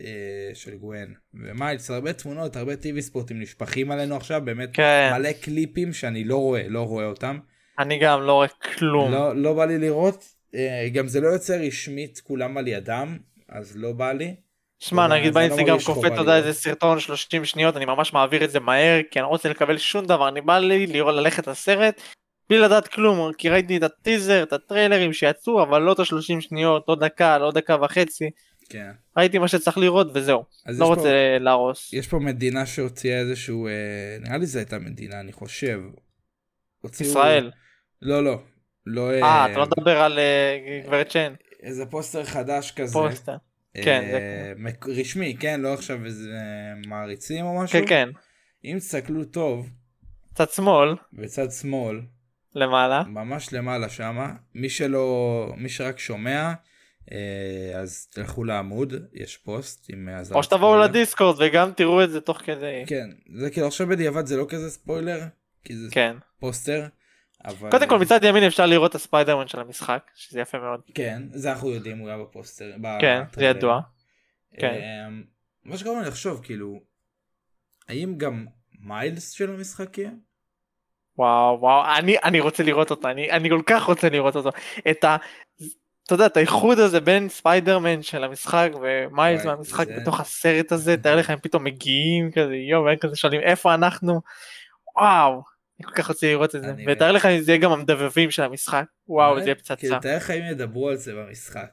אה, של גוון ומיילס, הרבה תמונות, הרבה טיווי ספוטים נשפכים עלינו עכשיו, באמת
כן.
מלא קליפים שאני לא רואה, לא רואה אותם.
אני גם לא רואה כלום.
לא, לא בא לי לראות, אה, גם זה לא יוצא רשמית כולם על ידם, אז לא בא לי.
שמע
אבל
נגיד
זה לא
באינסטגרם
מרגיש
קופץ
חובה
אתה יודע
לראות.
איזה סרטון 30 שניות אני ממש מעביר את זה מהר כי אני לא רוצה לקבל שום דבר אני בא לי לראות ללכת לסרט. בלי לדעת כלום כי ראיתי את הטיזר את הטריילרים שיצאו אבל לא את ה-30 שניות עוד דקה לא דקה וחצי
כן.
ראיתי מה שצריך לראות וזהו
אז
לא
יש פה-
רוצה להרוס.
יש פה מדינה שהוציאה איזשהו, אה, נראה לי זו הייתה מדינה, אני חושב. הוציאו-
ישראל.
לא, לא. לא...
אה אתה לא מדבר על אה, גברת צ'ן
איזה פוסטר חדש כזה.
פוסטר.
אה,
כן, זה-
מק- רשמי, כן? לא עכשיו איזה אה, מעריצים או משהו.
כן כן.
אם תסתכלו טוב,
צד שמאל
בצד שמאל,
למעלה.
ממש למעלה שמה, מי שלא, מי שרק שומע, אה, אז תלכו לעמוד, יש פוסט עם האזנת
או שתבואו
ספוילר.
לדיסקורד וגם תראו את זה תוך כדי.
כן, זה כאילו עכשיו בדיעבד זה לא כזה ספוילר, כי זה
כן.
פוסטר. אבל...
קודם כל מצד ימין אפשר לראות את הספיידרמן של המשחק, שזה יפה מאוד.
כן, זה אנחנו יודעים, הוא היה בפוסטר.
כן, זה
בטריילר.
ידוע.
כן. מה שגרם לי לחשוב, כאילו, האם גם מיילס של המשחק יהיה?
וואו וואו, אני, אני רוצה לראות אותו, אני, אני כל כך רוצה לראות אותו. את ה... אתה יודע, את האיחוד הזה בין ספיידרמן של המשחק ומיילס
וואי,
מהמשחק
זה-
בתוך הסרט הזה, תאר לך הם פתאום מגיעים כזה יום, הם כזה שואלים איפה אנחנו, וואו, אני כל כך רוצה לראות את זה,
אני
ותאר
מת.
לך אם זה יהיה גם המדבבים של המשחק, וואו,
באמת?
זה יהיה פצצה.
כאילו, תאר לך אם ידברו על זה במשחק.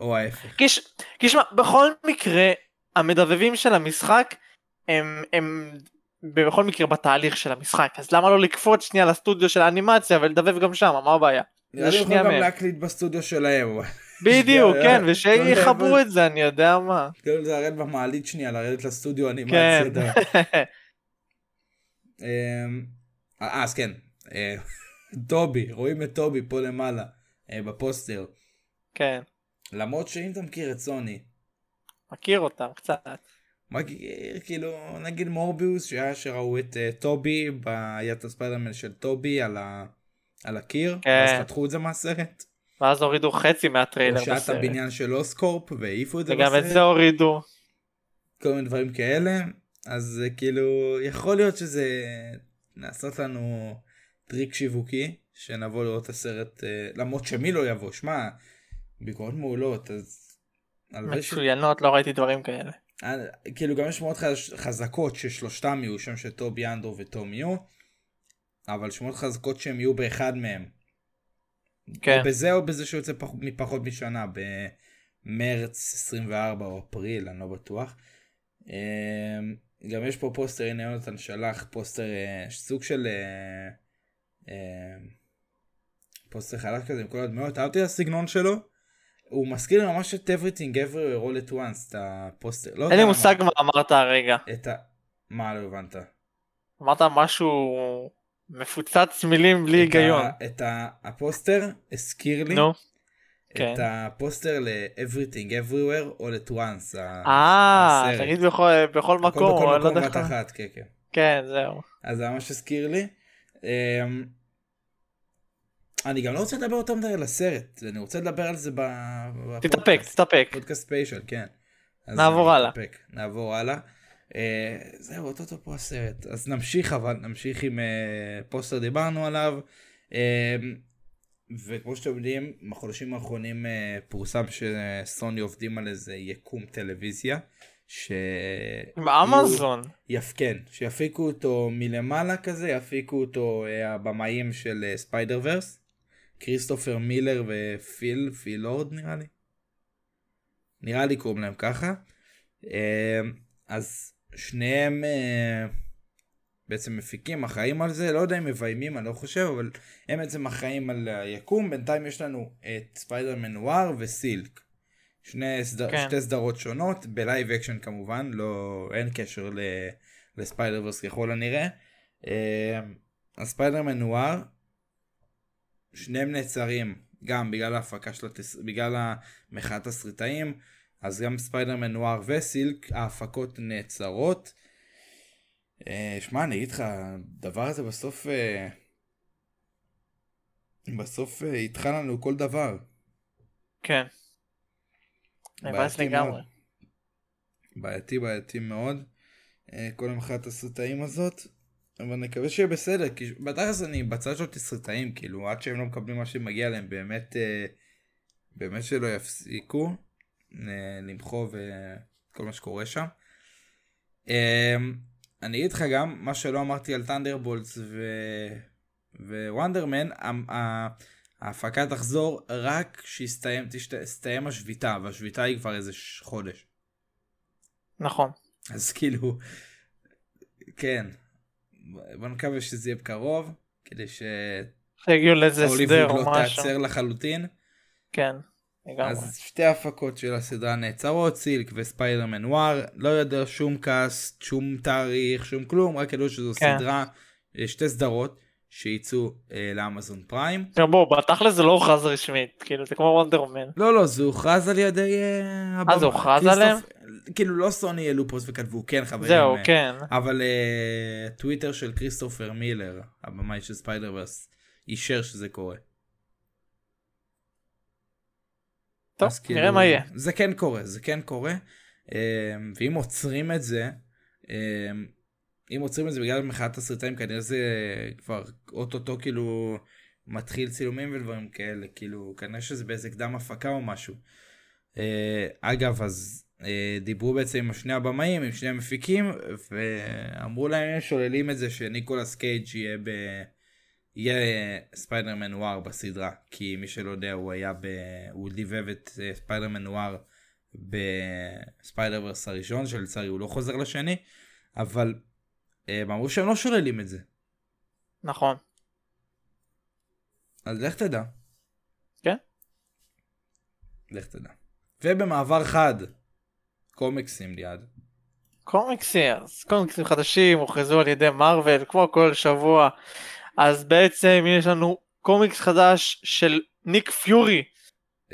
או ההפך.
כי ש- כי שמע, בכל מקרה, המדבבים של המשחק הם, הם בכל מקרה בתהליך של המשחק, אז למה לא לקפוץ שנייה לסטודיו של האנימציה ולדבב גם שם, מה הבעיה?
נראה לי יכול
שנייה
גם
מהם.
להקליט בסטודיו שלהם. אבל-
בדיוק,
זה-
כן,
לא יודע,
ושיחברו
אבל-
את זה, אני יודע מה.
כאילו, לרדת במעלית שנייה, לרדת לסטודיו אנימציה.
כן.
די. אמ, אה, אז כן, אה, טובי, רואים את טובי פה למעלה, אה, בפוסטר.
כן,
למרות שאם אתה מכיר את סוני,
מכיר אותם קצת.
מכיר, כאילו, נגיד מורביוס, שהיה שראו את אה, טובי, בעיית הספיידרמן של טובי על ה- על הקיר,
כן.
אז חתכו את זה מהסרט.
ואז הורידו חצי מהטריילר
או שעת
בסרט.
הבניין של אוסקורפ, והעיפו את זה
וגם את זה הורידו.
כל מיני דברים כאלה, אז זה כאילו, יכול להיות שזה לעשות לנו טריק שיווקי, שנבוא לראות את הסרט, אה, למרות שמי לא יבוא, שמע, ביקורות מעולות, אז... הלוואי ש-
מצוינות, לא ראיתי דברים כאלה.
אה, כאילו גם יש שמות חז- חזקות ששלושתם יהיו שם שטובי אנדרו וטום יהיו, אבל שמות חזקות שהם יהיו באחד מהם.
כן.
או בזה או בזה שיוצא פח, מפחות משנה, במרץ 24 או אפריל, אני לא בטוח. אמ, גם יש פה פוסטר, הנה יונתן שלח פוסטר, אה, סוג של אה, אמ, פוסטר חלק כזה עם כל הדמויות, אהבתי את הסגנון שלו. הוא מזכיר לי ממש את everything ever all at once, את הפוסטר. לא יודע
אין לי
מה.
מושג מה אמרת הרגע.
את ה... מה לא הבנת?
אמרת משהו מפוצץ מילים בלי
את ה-
היגיון.
את ה- הפוסטר הזכיר לי
נו. כן.
את הפוסטר ל-Everything Everywhere All at Once. ה-
אה,
הסרט.
תגיד בכל- בכל
הכל
מקום,
בכל
או לא
מקום
יודע
בבת
איך-
אחת, כן, כן.
כן, זהו.
אז זה ממש הזכיר לי. אמ, אני גם לא רוצה לדבר יותר מדי על הסרט, אני רוצה לדבר על זה ב... בפודקאסט.
תתאפק, תתאפק.
פודקאסט ספיישל, כן. אז
נעבור
אני
הלאה.
מתאפק, נעבור הלאה. אה, זהו, אוטוטו פה הסרט. אז נמשיך אבל, נמשיך עם אה, פוסטר דיברנו עליו. אה, וכמו שאתם יודעים, בחודשים האחרונים אה, פורסם שסוני עובדים על איזה יקום טלוויזיה. ש...
עם אמזון.
יפ... כן, שיפיקו אותו מלמעלה כזה, יפיקו אותו אה, הבמאים של אה, ספיידר ורס, כריסטופר מילר ופיל, פילורד נראה לי. נראה לי קוראים להם ככה. אה, אז שניהם אה, בעצם מפיקים, אחראים על זה, לא יודע אם מביימים, אני לא חושב, אבל הם בעצם אחראים על היקום. בינתיים יש לנו את ספיידרמן נואר וסילק. שני סדר,
כן.
כן. שתי סדרות שונות, בלייב אקשן כמובן, לא, אין קשר ל, לספיידר ורס ככל הנראה. אה, אז ספיידרמן נואר, שניהם נעצרים, גם בגלל ההפקה של התס... בגלל המחאת הסריטאים, אז גם ספיידרמן נואר וסילק, ההפקות נעצרות. אה, שמע, אני אגיד לך, הדבר הזה בסוף... אה, בסוף אה, ידחה לנו כל דבר.
כן. מבאס
בעייתי
לגמרי.
מאוד. בעייתי, בעייתי מאוד. אה, כל המחאת הסרטאים הזאת. אבל נקווה שיהיה בסדר, כי בתכלס אני בצד של תסריטאים, כאילו, עד שהם לא מקבלים מה שמגיע להם, באמת, אה, באמת שלא יפסיקו אה, למחוב אה, כל מה שקורה שם. אה, אני אגיד לך גם, מה שלא אמרתי על טנדרבולטס ו... ווונדרמן, המ- ה- ההפקה תחזור רק כשתסתיים תסתיים השביתה, והשביתה היא כבר איזה ש- חודש.
נכון.
אז כאילו, כן, בוא נקווה שזה יהיה בקרוב, כדי שהוליווד
שיגיעו לאיזה הסדר
לא
או משהו.
תיעצר לחלוטין.
כן, לגמרי.
אז שתי הפקות של הסדרה נעצרות, סילק וספיידרמן וואר, לא יודע שום כעס, שום תאריך, שום כלום, רק ידעו שזו
כן.
סדרה, אה, שתי סדרות שיצאו אה, לאמזון פריים.
גם בואו, בתכל'ס זה לא הוכרז רשמית, כאילו זה כמו וונדרמן.
לא, לא, זה הוכרז על ידי...
אה, זה הוכרז עליהם?
כאילו לא סוני העלו פוסט וכתבו, כן חברים.
זהו,
אה,
כן.
אבל אה, טוויטר של כריסטופר מילר, הבמאי של ספיידר ורס, אישר שזה קורה.
טוב,
אז
נראה מה יהיה.
זה כן קורה, זה כן קורה. אמ, ואם עוצרים את זה, אמ, אם עוצרים את זה בגלל מחאת הסרטיים, כנראה זה כבר אוטוטו כאילו מתחיל צילומים ודברים כאלה, כאילו, כנראה שזה באיזה קדם הפקה או משהו. אה, אגב, אז אה, דיברו בעצם עם שני הבמאים, עם שני המפיקים, ואמרו להם, שוללים את זה שניקולס קייג' יהיה ב... יהיה אה, ספיידרמן נואר בסדרה, כי מי שלא יודע, הוא היה ב... הוא דיבב את אה, ספיידרמן נואר בספיידר ורס הראשון, שלצערי הוא לא חוזר לשני, אבל אה, הם אמרו שהם לא שוללים את זה.
נכון.
אז לך תדע.
כן?
לך תדע. ובמעבר חד, קומיקסים ליד.
קומיקסים, אז קומיקסים חדשים הוכרזו על ידי מארוול כמו כל שבוע. אז בעצם יש לנו קומיקס חדש של ניק פיורי,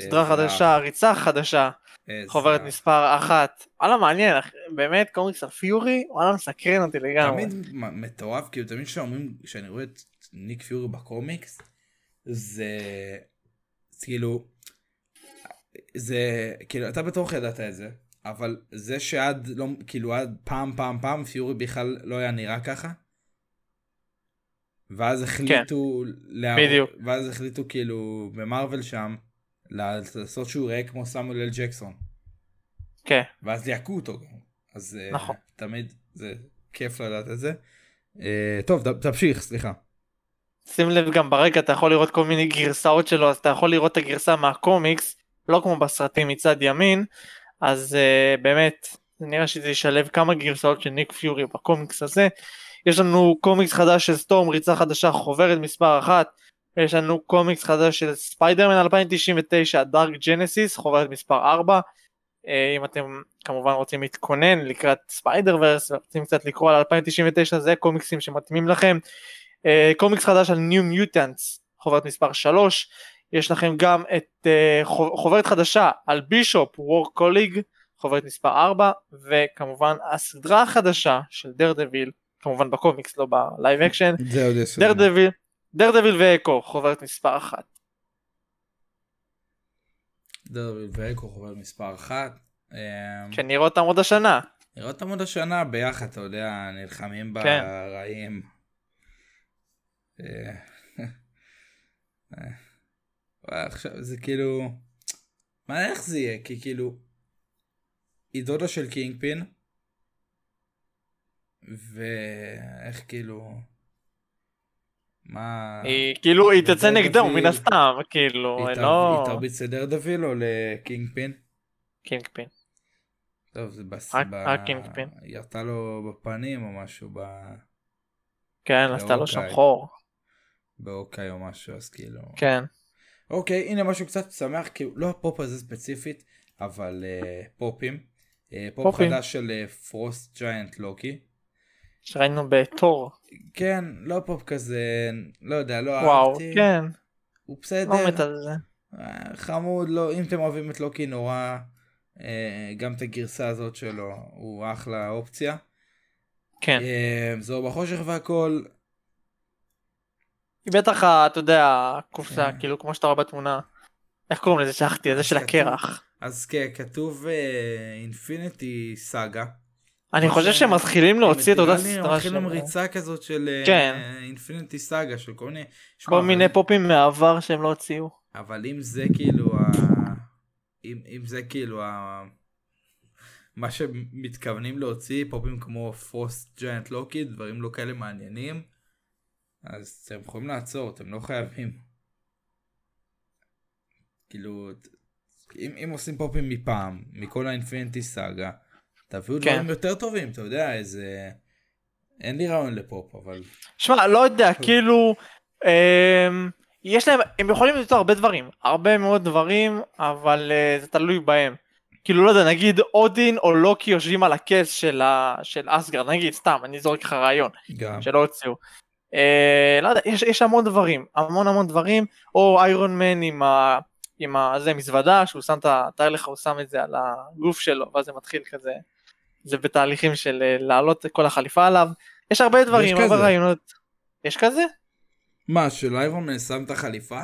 סדרה
עזרא,
חדשה, ריצה חדשה,
עזרא.
חוברת מספר אחת. וואלה מעניין, אח- באמת קומיקס הפיורי, וואלה מסקרן אותי לגמרי.
תמיד מ- מטורף, כאילו תמיד כשאומרים, כשאני רואה את ניק פיורי בקומיקס, זה זה כאילו, זה כאילו אתה בטוח ידעת את זה, אבל זה שעד לא, כאילו עד פעם פעם פעם פיורי בכלל לא היה נראה ככה. ואז החליטו, כן, לה...
בדיוק.
ואז החליטו כאילו במרוויל שם לעשות שהוא יראה כמו סמואל אל ג'קסון.
כן,
ואז יעקו אותו גם. אז אה,
נכון.
תמיד זה כיף לדעת את זה. אה, טוב, ת- תמשיך, סליחה.
שים לב גם ברקע אתה יכול לראות כל מיני גרסאות שלו, אז אתה יכול לראות את הגרסה מהקומיקס, לא כמו בסרטים מצד ימין, אז uh, באמת, נראה שזה ישלב כמה גרסאות של ניק פיורי בקומיקס הזה. יש לנו קומיקס חדש של סטורם, ריצה חדשה, חוברת מספר אחת. יש לנו קומיקס חדש של ספיידרמן 2099, דארק ג'נסיס, חוברת מספר 4. אם אתם כמובן רוצים להתכונן לקראת ספיידר ורס, רוצים קצת לקרוא על 2099, זה קומיקסים שמתאימים לכם. אה, קומיקס חדש על ניו מיוטנטס, חוברת מספר 3. יש לכם גם את אה, חוב- חוברת חדשה על בישופ, וור קוליג, חוברת מספר 4, וכמובן הסדרה החדשה של דר דביל, כמובן בקומיקס, לא בלייב אקשן,
זה עוד יש.
דר דביל, דר דביל ואקו, חוברת מספר 1.
Mm. דרביל ואקו חובר מספר אחת. אה,
שנראה אותם עוד השנה.
נראה אותם עוד השנה ביחד, אתה יודע, נלחמים
כן.
ברעים. אה, אה, עכשיו זה כאילו... מעניין איך זה יהיה, כי כאילו... היא דודה של קינג פין. ואיך כאילו... מה...
היא כאילו, היא
דר
תצא נגדו
דביל.
מן הסתם, כאילו,
היא תר-
לא
היא תרביץ לדרדוויל או לקינג פין?
קינג פין.
טוב, זה בס...
רק-
ב-
רק קינג פין.
היא ירתה לו בפנים או משהו, ב...
כן, עשתה לו שם
אוקיי.
חור.
באוקיי או משהו, אז כאילו...
כן,
אוקיי, הנה משהו קצת שמח, כאילו, לא הפופ הזה ספציפית, אבל אה, פופים. אה, פופ
פופים.
חדש של פרוסט ג'יינט לוקי.
שראינו בתור.
כן, לא פופ כזה, לא יודע, לא
וואו,
אהבתי.
כן,
הוא
לא מת
בסדר,
על זה.
אה, חמוד, לא, אם אתם אוהבים את לוקי נורא, אה, גם את הגרסה הזאת שלו, הוא אחלה אופציה.
כן.
אה, זוהר בחושך והכל,
היא בטח, ה- אתה יודע, הקופסה,
כן.
כאילו, כמו שאתה רואה בתמונה. איך קוראים לזה? שכחתי, זה של
כתוב.
הקרח.
אז כן, כתוב אה, אינפיניטי סאגה.
אני חושב שהם מתחילים
כאילו,
להוציא את אותה סדרה
שלו.
שלהם.
מתחילים ריצה כזאת של
כן.
אינפיניטי סאגה, של כל מיני... שמע,
כל
אבל-
מיני פופים מהעבר שהם לא הוציאו.
אבל אם זה כאילו ה... אם אם זה כאילו ה... מה שמתכוונים להוציא, פופים כמו פרוסט ג'יינט לוקי, דברים לא כאלה מעניינים, אז אתם יכולים לעצור, אתם לא חייבים. כאילו, ת- אם, אם עושים פופים מפעם, מכל האינפינטי סאגה, תביאו
כן.
דברים יותר טובים, אתה יודע, איזה... אין לי רעיון לפופ, אבל...
שמע, לא
אה.
יודע, כאילו, אמ, יש להם, הם יכולים למצוא הרבה דברים, הרבה מאוד דברים, אבל אה, זה תלוי בהם. כאילו, לא יודע, נגיד אודין או לוקי יושבים על הכס של ה- של אסגרד, נגיד, סתם, אני זורק לך רעיון.
גם...
כן. שלא הוציאו. אה, לא יודע, יש, יש המון דברים, המון המון דברים, או איירון מן עם ה... עם ה... זה מזוודה, שהוא שם את ה... תאר לך, הוא שם את זה על הגוף שלו, ואז זה מתחיל כזה, זה בתהליכים של אה, להעלות את כל החליפה עליו, יש הרבה דברים, הרבה
כזה.
רעיונות. יש כזה?
מה, שלייברמן שם את החליפה?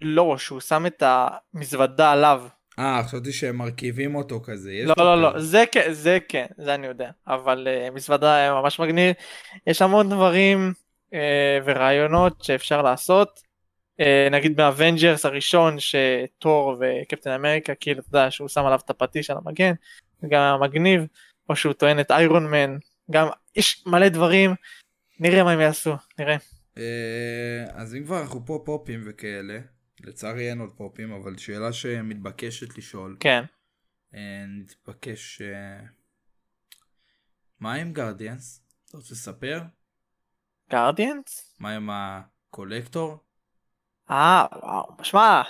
לא, שהוא שם את המזוודה עליו.
אה, חשבתי שהם מרכיבים אותו כזה. יש
לא,
לו
לא, לא,
כזה.
זה כן, זה כן, זה אני יודע, אבל אה, מזוודה היה ממש מגניב, יש המון דברים אה, ורעיונות שאפשר לעשות, אה, נגיד באבנג'רס הראשון שתור וקפטן אמריקה כאילו אתה יודע שהוא שם עליו את הפטיש על המגן זה גם היה מגניב או שהוא טוען את איירון מן גם יש מלא דברים נראה מה הם יעשו נראה
אה, אז אם כבר אנחנו פה פופים וכאלה, לצערי אין עוד פופים, אבל שאלה שמתבקשת לשאול,
כן
אה, נתבקש... אה, מה עם גרדיאנס? אתה רוצה לספר?
גרדיאנס?
מה עם הקולקטור?
אה וואו שמע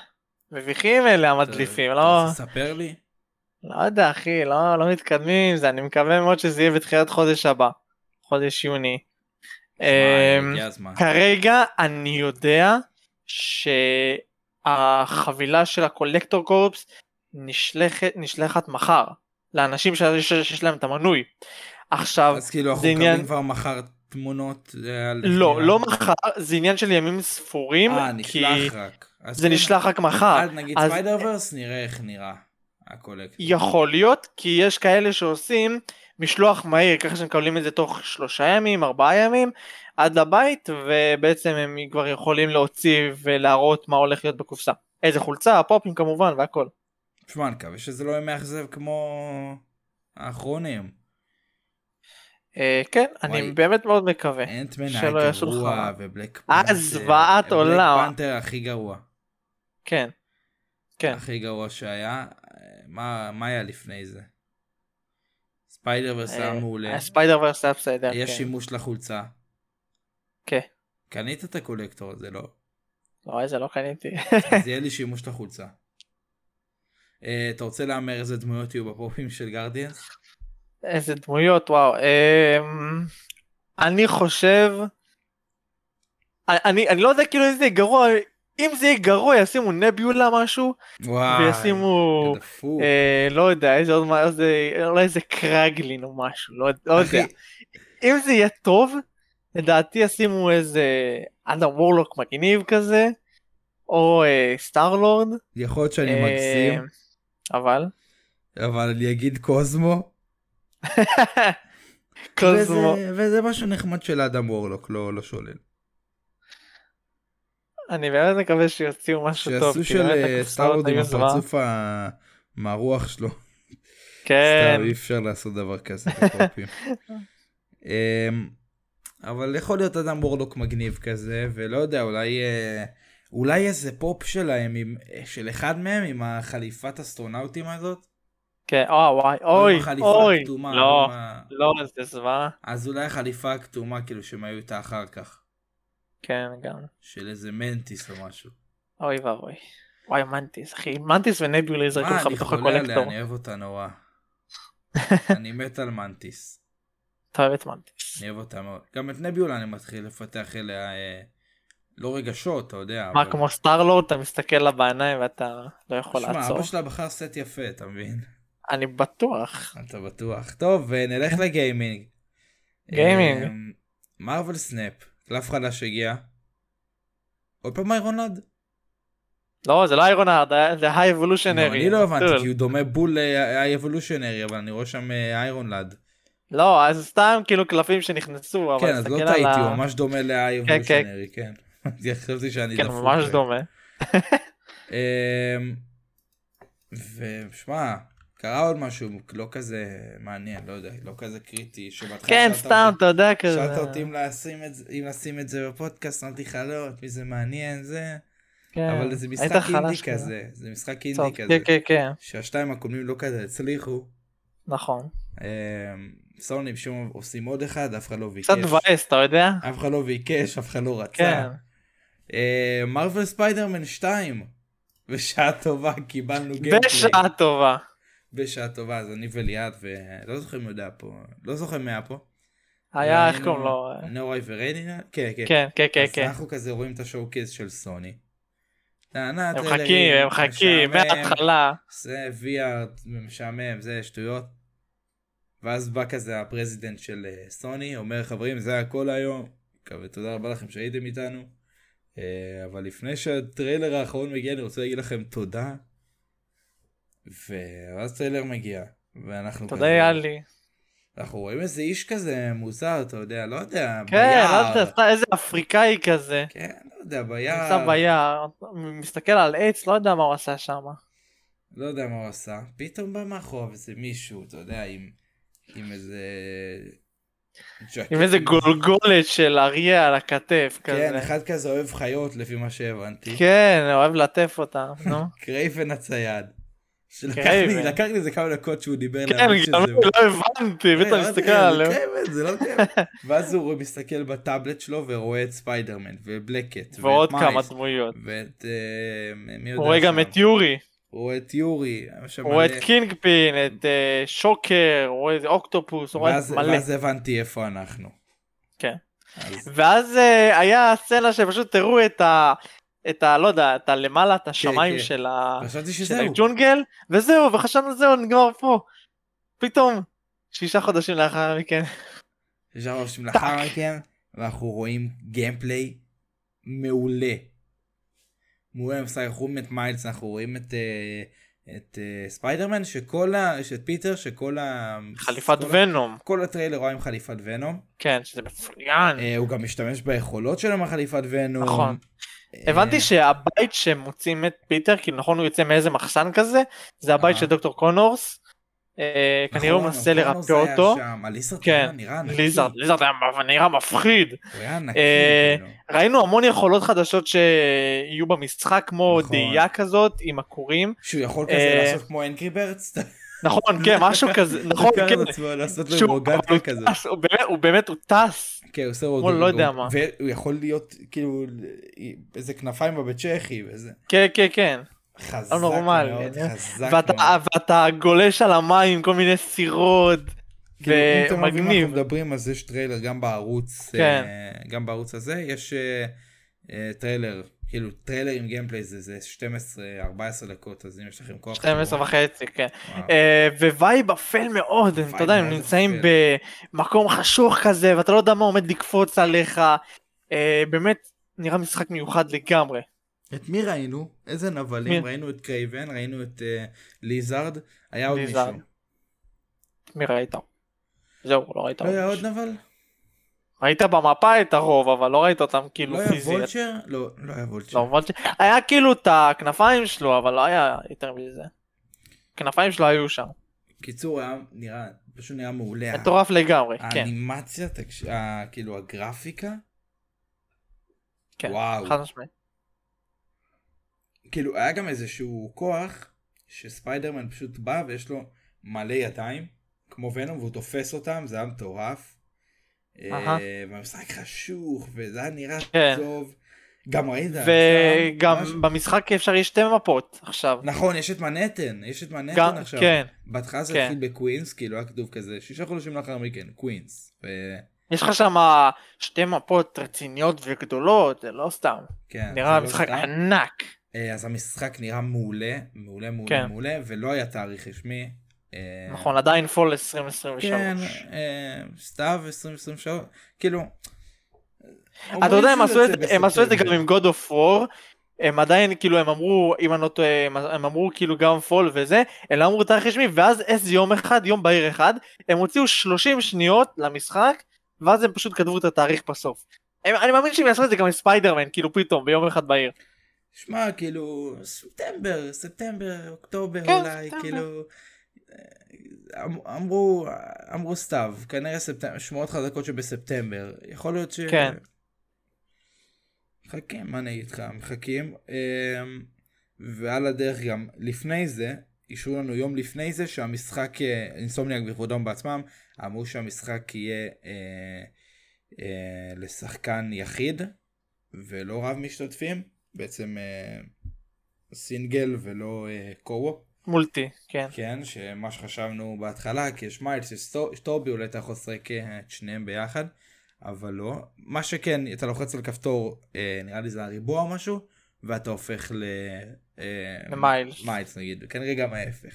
מביכים אלה המדליפים
אתה-
לא
אתה רוצה לספר לי?
לא יודע אחי לא לא מתקדמים עם זה אני מקווה מאוד שזה יהיה בתחילת חודש הבא חודש יוני.
מה,
אמ,
הגיע הזמן.
כרגע אני יודע שהחבילה של הקולקטור קורפס נשלחת, נשלחת מחר לאנשים שיש, שיש להם את המנוי. עכשיו,
אז כאילו אנחנו
זה עניין-
מקבלים כבר מחר תמונות אה, על...
לא, לא מחר, זה עניין של ימים ספורים,
אה,
כי
נשלח רק. אז
זה
כן,
נשלח רק מחר.
אז נגיד
אז-
ספיידר ורס נראה איך נראה הקולקטור.
יכול להיות, כי יש כאלה שעושים משלוח מהיר, ככה שמקבלים את זה תוך שלושה ימים, ארבעה ימים, עד לבית, ובעצם הם כבר יכולים להוציא ולהראות מה הולך להיות בקופסה. איזה חולצה, הפופים כמובן, והכל.
תשמע, אני מקווה שזה לא יהיה מאכזב כמו האחרונים.
אה, כן, אני
וואי.
באמת מאוד מקווה.
אנטמן
אה, שלא
היה
יעשו לך
גרוע
רע.
ובלק
אה,
פנתר.
זוועת עולם.
בלק פנתר הכי גרוע.
כן. כן.
הכי גרוע שהיה. אה, מה מה היה לפני זה? ספיידר ורס היה
אה,
מעולה.
הספיידר ורס היה בסדר.
יש
כן.
שימוש לחולצה.
כן.
קנית את הקולקטור הזה, לא?
לא, איזה לא קניתי.
אז יהיה לי שימוש לחולצה. אה, אתה רוצה להמר איזה דמויות יהיו בפופים של גרדיאנס?
איזה דמויות, וואו. אמ, אני חושב... אני, אני לא יודע כאילו איזה גרוע, אם זה יהיה גרוע ישימו נביולה משהו,
וואי.
וישימו,
זה דפוק.
אה, לא יודע, איזה עוד מה, איזה, אולי איזה קרגלין או משהו, לא, לא
אחי,
יודע. אם זה יהיה טוב, לדעתי ישימו איזה אדם וורלוק מגניב כזה, או אה, סטארלורד.
יכול להיות שאני
אה,
מגזים,
אבל.
אבל אני אגיד קוזמו.
קוזמו.
וזה- וזה משהו נחמד של אדם וורלוק, לא לא שולל.
אני באמת מקווה שיוציאו משהו טוב.
שיעשו
כי
של
באמת
אה,
הקופסאות
סטארלורד עם
היו זוועה.
הפרצוף ה- מהרוח שלו.
כן,
סתם, אי אפשר לעשות דבר כזה בקופים. אמ, אבל יכול להיות אדם בורדוק מגניב כזה, ולא יודע, אולי אה, אולי איזה פופ שלהם, עם- של אחד מהם עם החליפת אסטרונאוטים הזאת?
כן, או וואי,
לא עם
אוי,
החליפה
אוי,
הכתומה,
לא,
עם ה-
לא, זה זוועה,
אז אולי החליפה הכתומה, כאילו, שהם היו איתה אחר כך,
כן, גם,
של איזה מנטיס או משהו.
אוי ואבוי. וואי, מנטיס, אחי, מנטיס ונביולי יזרקו
מה,
לך
אני
בתוך
חולה עליה,
הקולקטור.
אני אוהב אותה נורא. אני מת על מנטיס.
אתה אוהב את מנטיס.
אני אוהב אותה מאוד. גם את נביולה אני מתחיל לפתח אליה, אה, לא רגשות, אתה יודע.
מה,
אבל-
כמו סטארלורד, אתה מסתכל לה בעיניים ואתה לא יכול
שמע,
לעצור.
אבא שלה בחר סט יפה, אתה מבין?
אני בטוח.
אתה בטוח. טוב, אה, נלך לגיימינג.
כן. גיימינג.
מרוויל סנאפ, קלף חדש הגיע. עוד פעם איירונד?
לא, זה לא איירונארד, זה כאילו, היי אבולושנרי.
אני לא הבנתי, כי הוא דומה בול אה, ל-Evolutionary, אבל אני רואה שם אה, איירון לאד.
לא, אז סתם כאילו קלפים שנכנסו, אבל
כן, אז לא
תסתכל על
טעיתי,
ה-
הוא ממש דומה
כן, כן.
ל-Evolutionary, כן. חשבתי שאני
כן,
דפוק.
ממש דומה.
אמ, ושמע, קרה עוד משהו לא כזה מעניין, לא יודע, לא כזה קריטי, שבהתחלה
כן,
שאלת
סתם,
אותי-
אתה יודע כזה. כן.
שאלת אותי אם לשים את זה- אם לשים את זה בפודקאסט, אמרתי לך לא, את מי זה מעניין, זה,
כן,
אבל זה
היית
משחק אינדי
חלש כזה.
כזה, זה משחק אינדי
טוב,
כזה,
כן, כן, כן,
שהשתיים הקודמים לא כזה הצליחו,
נכון.
אמ, סוני בשום עושים עוד אחד, אף אחד לא ביקש,
קצת מבאס, אתה יודע?
אף אחד לא ביקש, אף אחד לא רצה,
כן.
אה, מרוויל ספיידרמן 2. בשעה טובה קיבלנו גיימפליי.
בשעה טובה.
בשעה טובה אז אני וליעד ולא זוכר מי יודע פה לא זוכר מי היה פה.
היה, איך
היינו-
קוראים לו?
נוראי וריינינה? כן כן.
כן, כן, כן,
אז
כן.
אנחנו כזה רואים את השואו קייס של סוני. טענה,
הם
טריילרים,
מחכים, הם מחכים,
משעמם,
מההתחלה.
זה VR משעמם זה שטויות. ואז בא כזה הפרזידנט של אה, סוני אומר חברים זה הכל היום. ותודה רבה לכם שהייתם איתנו. אה, אבל לפני שהטריילר האחרון מגיע אני רוצה להגיד לכם תודה. ואז טריילר מגיע. ואנחנו
תודה,
כזה-
יאללי.
אנחנו רואים איזה איש כזה מוזר, אתה יודע, לא יודע,
כן,
ביער.
אל תעשה איזה אפריקאי כזה.
כן, לא יודע,
הוא
ביער,
נמצא ביער, מסתכל על עץ, לא יודע מה הוא עשה שם.
לא יודע מה הוא עשה, פתאום בא מאחוריו איזה מישהו, אתה יודע, עם, עם איזה... ג'קט.
עם איזה גולגולת של אריה על הכתף כזה.
כן, אחד כזה אוהב חיות לפי מה שהבנתי.
כן, אוהב לעטף אותם, נו.
קרייבן הצייד. שלקח לי,
קרייבן.
לקח לי איזה כמה דקות שהוא דיבר
כן, גם אני לא הבנתי,
כן,
ואתה
אמרתי,
מסתכל
"אה, זה
עליו.
קרייבן, זה לא קרייבן. ואז הוא מסתכל בטאבלט שלו ורואה את ספיידרמן ובלקט.
ועוד
ואת
כמה
מייס,
דמויות.
ואת... אה, מי יודע
הוא רואה גם
שם?
את יורי,
הוא רואה את יורי. היה שם
הוא רואה
מלא.
את קינג פין, את אה, שוקר, הוא רואה את אוקטופוס, הוא רואה את
ואז
מלא.
ואז הבנתי איפה אנחנו.
כן.
אז-
ואז אה, היה סצנה שפשוט הראו את ה... את ה... לא יודע, את הלמעלה, את השמיים
כן.
של ה...
חשבתי
של
שזהו.
הג'ונגל, וזהו, וחשבנו זהו, נגמר פה. פתאום, שישה חודשים לאחר מכן.
ישר רושמים לאחר מכן, ואנחנו רואים גיימפליי מעולה. מעולה, אנחנו משחקים את מיילס, אנחנו רואים את, אה, את אה, ספיידרמן, שכל ה... יש את פיטר, שכל ה...
חליפת
כל ה-
ונום.
כל הטריילר הוא היה עם חליפת ונום.
כן, שזה מצוין.
אה, הוא גם משתמש ביכולות שלו עם החליפת ונום.
נכון.
אה,
הבנתי שהבית שמוצאים את פיטר, כאילו נכון הוא יוצא מאיזה מחסן כזה, זה הבית
אה.
של דוקטור קונורס. אה,
נכון,
כנראה הוא מנסה
אוקונוס
לרפא
היה
אותו.
שם, הליזרד
כן,
היה נראה ענקי.
ליזרד, ליזרד היה נראה מפחיד.
הוא היה ענקי.
אה,
כאילו.
ראינו המון יכולות חדשות שיהיו במשחק, כמו
נכון.
דאייה כזאת עם הכורים.
שהוא יכול כזה
אה,
לעשות כמו אנקרי ברדס.
נכון, כן, משהו כזה, נכון,
לקח על
כן.
עצמו לעשות לו
שהוא-
רוגנטה
הוא
כזה.
טס, הוא באמת- הוא באמת, הוא טס.
כן, הוא עושה
כמו
רוגנטה.
לא יודע מה.
והוא יכול להיות כאילו איזה כנפיים בבית צ'כי ואיזה
כן, כן, כן.
חזק
לא נורמלי,
מאוד,
אני-
חזק
ואתה- אה,
מאוד.
ואתה גולש על המים, כל מיני סירות.
כאילו, אם אתם לא מבינים מה
ומגניב.
אנחנו מדברים אז יש טריילר גם בערוץ,
כן.
אה, גם בערוץ הזה יש אה, אה, טריילר, כאילו טריילר עם גיימפליי זה- זה 12-14 דקות, אז אם יש לכם כוח,
12 וחצי, כן.
וואו.
אה, ווייב אפל מאוד, הם, אתה יודע, הם
מאוד
נמצאים
אפל.
במקום חשוך כזה, ואתה לא יודע מה עומד לקפוץ עליך. אה, באמת, נראה משחק מיוחד לגמרי.
את מי ראינו? איזה
מי?
נבלים? ראינו את קרייבן, ראינו את אה, ליזארד, היה עוד מישהו.
ליזארד. מי ראית? זהו, לא ראית
לא היה
עוד
עוד
מישהו.
נבל?
ראית במפה את הרוב, אבל לא ראית אותם כאילו
לא היה
פיזית.
וולצ'ר? לא, לא היה וולצ'ר.
לא, וולצ'ר. היה כאילו את הכנפיים שלו, אבל לא היה יותר מזה. הכנפיים שלו היו שם.
קיצור היה נראה, פשוט נראה מעולה.
מטורף לגמרי, כן.
האנימציה, תקש- ה- כאילו הגרפיקה,
כן,
וואו.
חד משמעית.
כאילו היה גם איזשהו כוח שספיידרמן פשוט בא ויש לו מלא ידיים, כמו ונום, והוא תופס אותם, זה היה מטורף.
אהה.
אה, והמשחק חשוך, וזה היה נראה
כן.
טוב. גם ראית, שם, משהו-
וגם במשחק אפשר יש שתי מפות עכשיו.
נכון, יש את מנהטן, יש את
גם-
מנהטן עכשיו.
כן.
בהתחלה זה
כן.
התחיל בקווינס, כאילו היה כתוב כזה, שישה חודשים לאחר מכן, קווינס. ו-
יש לך שם שתי מפות רציניות וגדולות, זה לא סתם.
כן,
נראה
זה לא
משחק
סתם.
ענק.
אה, אז המשחק נראה מעולה, מעולה, מעולה,
כן.
מעולה, ולא היה תאריך רשמי. אה,
נכון, עדיין פול
כן,
2023.
אה, סתיו 2023, כאילו...
אתה יודע,
אומרים
הם
שהוא
עשו את-
יוצא
הם עשו את זה גם
בספטמבר.
עם God of War. הם עדיין כאילו הם אמרו אם אני לא טועה הם- הם אמרו כאילו גם פול וזה הם לא אמרו תאריך רשמי ואז איזה יום אחד יום בהיר אחד הם הוציאו 30 שניות למשחק ואז הם פשוט כתבו את התאריך בסוף. הם, אני מאמין שהם יעשו את זה גם עם ספיידרמן כאילו פתאום ביום אחד בהיר.
שמע, כאילו, ספטמבר, ספטמבר, אוקטובר
כן,
אולי,
ספטמבר.
כאילו... אה, אמ- אמרו, אמרו סתיו, כנראה ספטמבר, שמועות חזקות שבספטמבר, יכול להיות ש...
כן.
מחכים, מה אני אגיד לך, מחכים. אמ, ועל הדרך גם, לפני זה, אישרו לנו יום לפני זה שהמשחק, אה, אינסומניאק בכבודם בעצמם, אמרו שהמשחק יהיה אה, אה, לשחקן יחיד ולא רב משתתפים, בעצם אה, סינגל ולא אה, קוו.
מולטי כן.
כן, שמה שחשבנו בהתחלה, כי יש מיילס, יש סטו- יש טובי, אולי אתה יכול לשחק אה, את שניהם ביחד, אבל לא. מה שכן, אתה לוחץ על כפתור, אה, נראה לי זה הריבוע או משהו, ואתה הופך ל... אה,
למיילס.
מיילס נגיד, כנראה גם ההפך.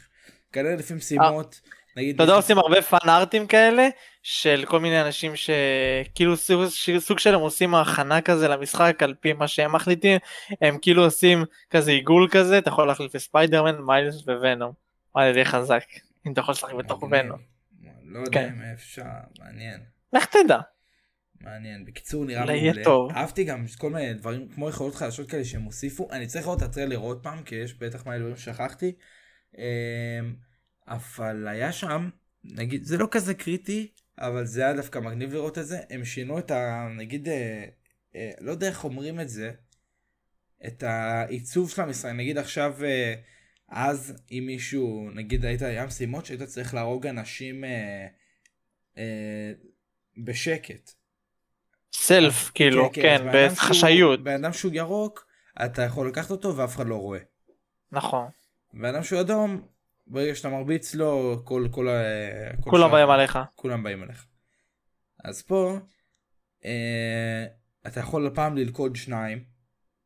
כנראה לפי משימות, נגיד...
אה, אתה יודע
מישהו-
עושים הרבה פאן ארטים כאלה של כל מיני אנשים שכאילו סוג, סוג שלהם עושים הכנה כזה למשחק על פי מה שהם מחליטים הם כאילו עושים כזה עיגול כזה אתה יכול להחליף לספיידרמן מיילס וונום. וואי זה יהיה חזק
אה.
אם אתה יכול לשחק בתוך
מגניב.
ונום.
לא יודע
כן.
אם אפשר, מעניין.
לך תדע.
מעניין. בקיצור, נראה
אולי לא יהיה טוב.
אהבתי גם כל מיני דברים, כמו יכולות חדשות כאלה שהם הוסיפו. אני צריך לראות את הטריילר עוד פעם, כי יש בטח מלא דברים ששכחתי. אמ, אבל היה שם, נגיד, זה לא כזה קריטי, אבל זה היה דווקא מגניב לראות את זה. הם שינו את ה... נגיד, אה, אה, לא יודע איך אומרים את זה, את העיצוב של המשחק. נגיד עכשיו, אה, אז אם מישהו, נגיד היית היה משימות שהיית צריך להרוג אנשים אה, אה, בשקט.
סלף, כאילו,
אז
כן,
בן אדם שהוא-
בחשאיות,
בן אדם שהוא ירוק, אתה יכול לקחת אותו ואף אחד לא רואה.
נכון.
בן אדם שהוא אדום, ברגע שאתה מרביץ לו, כל, כל, ה- כל
כולם
שאר-
באים עליך.
כולם באים אליך. אז פה, אה, אתה יכול הפעם ללכוד שניים,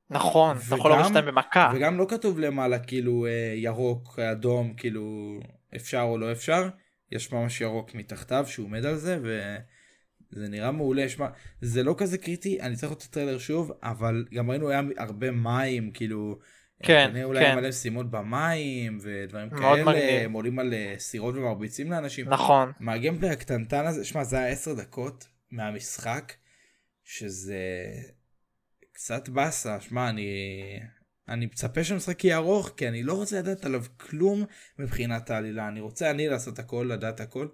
נכון, אתה יכול
וגם-
להוריד שתיים במכה.
וגם לא כתוב למעלה כאילו אה, ירוק, אדום, כאילו אפשר או לא אפשר, יש ממש ירוק מתחתיו שהוא עומד על זה, וזה נראה מעולה, שמע, זה לא כזה קריטי, אני צריך לראות את הטריילר שוב, אבל גם ראינו היה הרבה מים, כאילו, אה,
כן,
כנראה אולי
כן.
מלא משימות במים, ודברים
מאוד
כאלה,
מגניב.
הם עולים על אה, סירות ומרביצים לאנשים.
נכון.
מהגיימפליי הקטנטן הזה, שמע, זה היה עשר דקות מהמשחק, שזה קצת באסה, שמע, אני... אני מצפה שהמשחק יהיה ארוך, כי אני לא רוצה לדעת עליו כלום מבחינת העלילה, אני רוצה אני לעשות הכל, לדעת הכל,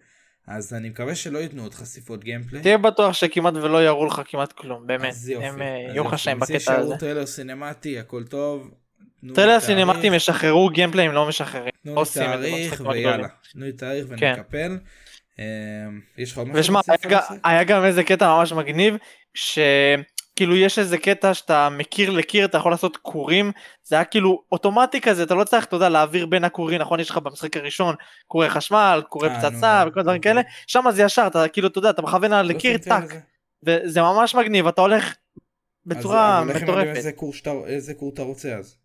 אז אני מקווה שלא ייתנו עוד חשיפות גיימפליי.
תהיה בטוח שכמעט ולא יראו לך כמעט כלום, באמת.
אז יופי.
הם
אז
אה, יהיו
יופי.
חשאים
מציע
בקטע הזה.
שיראו טריילר סינמטי, הכל טוב. תנו לי
טריילר
תאריך,
סינמטים ישחררו גיימפליים לא משחררים.
תנו לי
עושים את זה
תאריך
במשחקים
ויאללה.
הגדולים.
תנו לי תאריך
כן.
ונקפל. אמ, יש לך עוד משהו
ושמע,
להוסיף
היה
על
גם-
המשחק?
היה גם איזה קטע ממש מגניב, שכאילו יש איזה קטע שאתה מקיר לקיר, אתה יכול לעשות קורים, זה היה כאילו אוטומטי כזה, אתה לא צריך, אתה יודע, להעביר בין הכורים, נכון, יש לך במשחק הראשון קורי חשמל, קורי
אה,
פצצה
נו,
וכל הדברים
אוקיי.
כאלה, שם זה ישר, אתה כאילו, אתה יודע, אתה מכוון על
לא
לקיר,
שמתי על
טאק,
זה.
וזה ממש מגניב, אתה הולך בצורה
אז- אבל איך הם לא יודעים
מטורפת.
איזה קורס שאתה- איזה קורס אתה רוצה אז.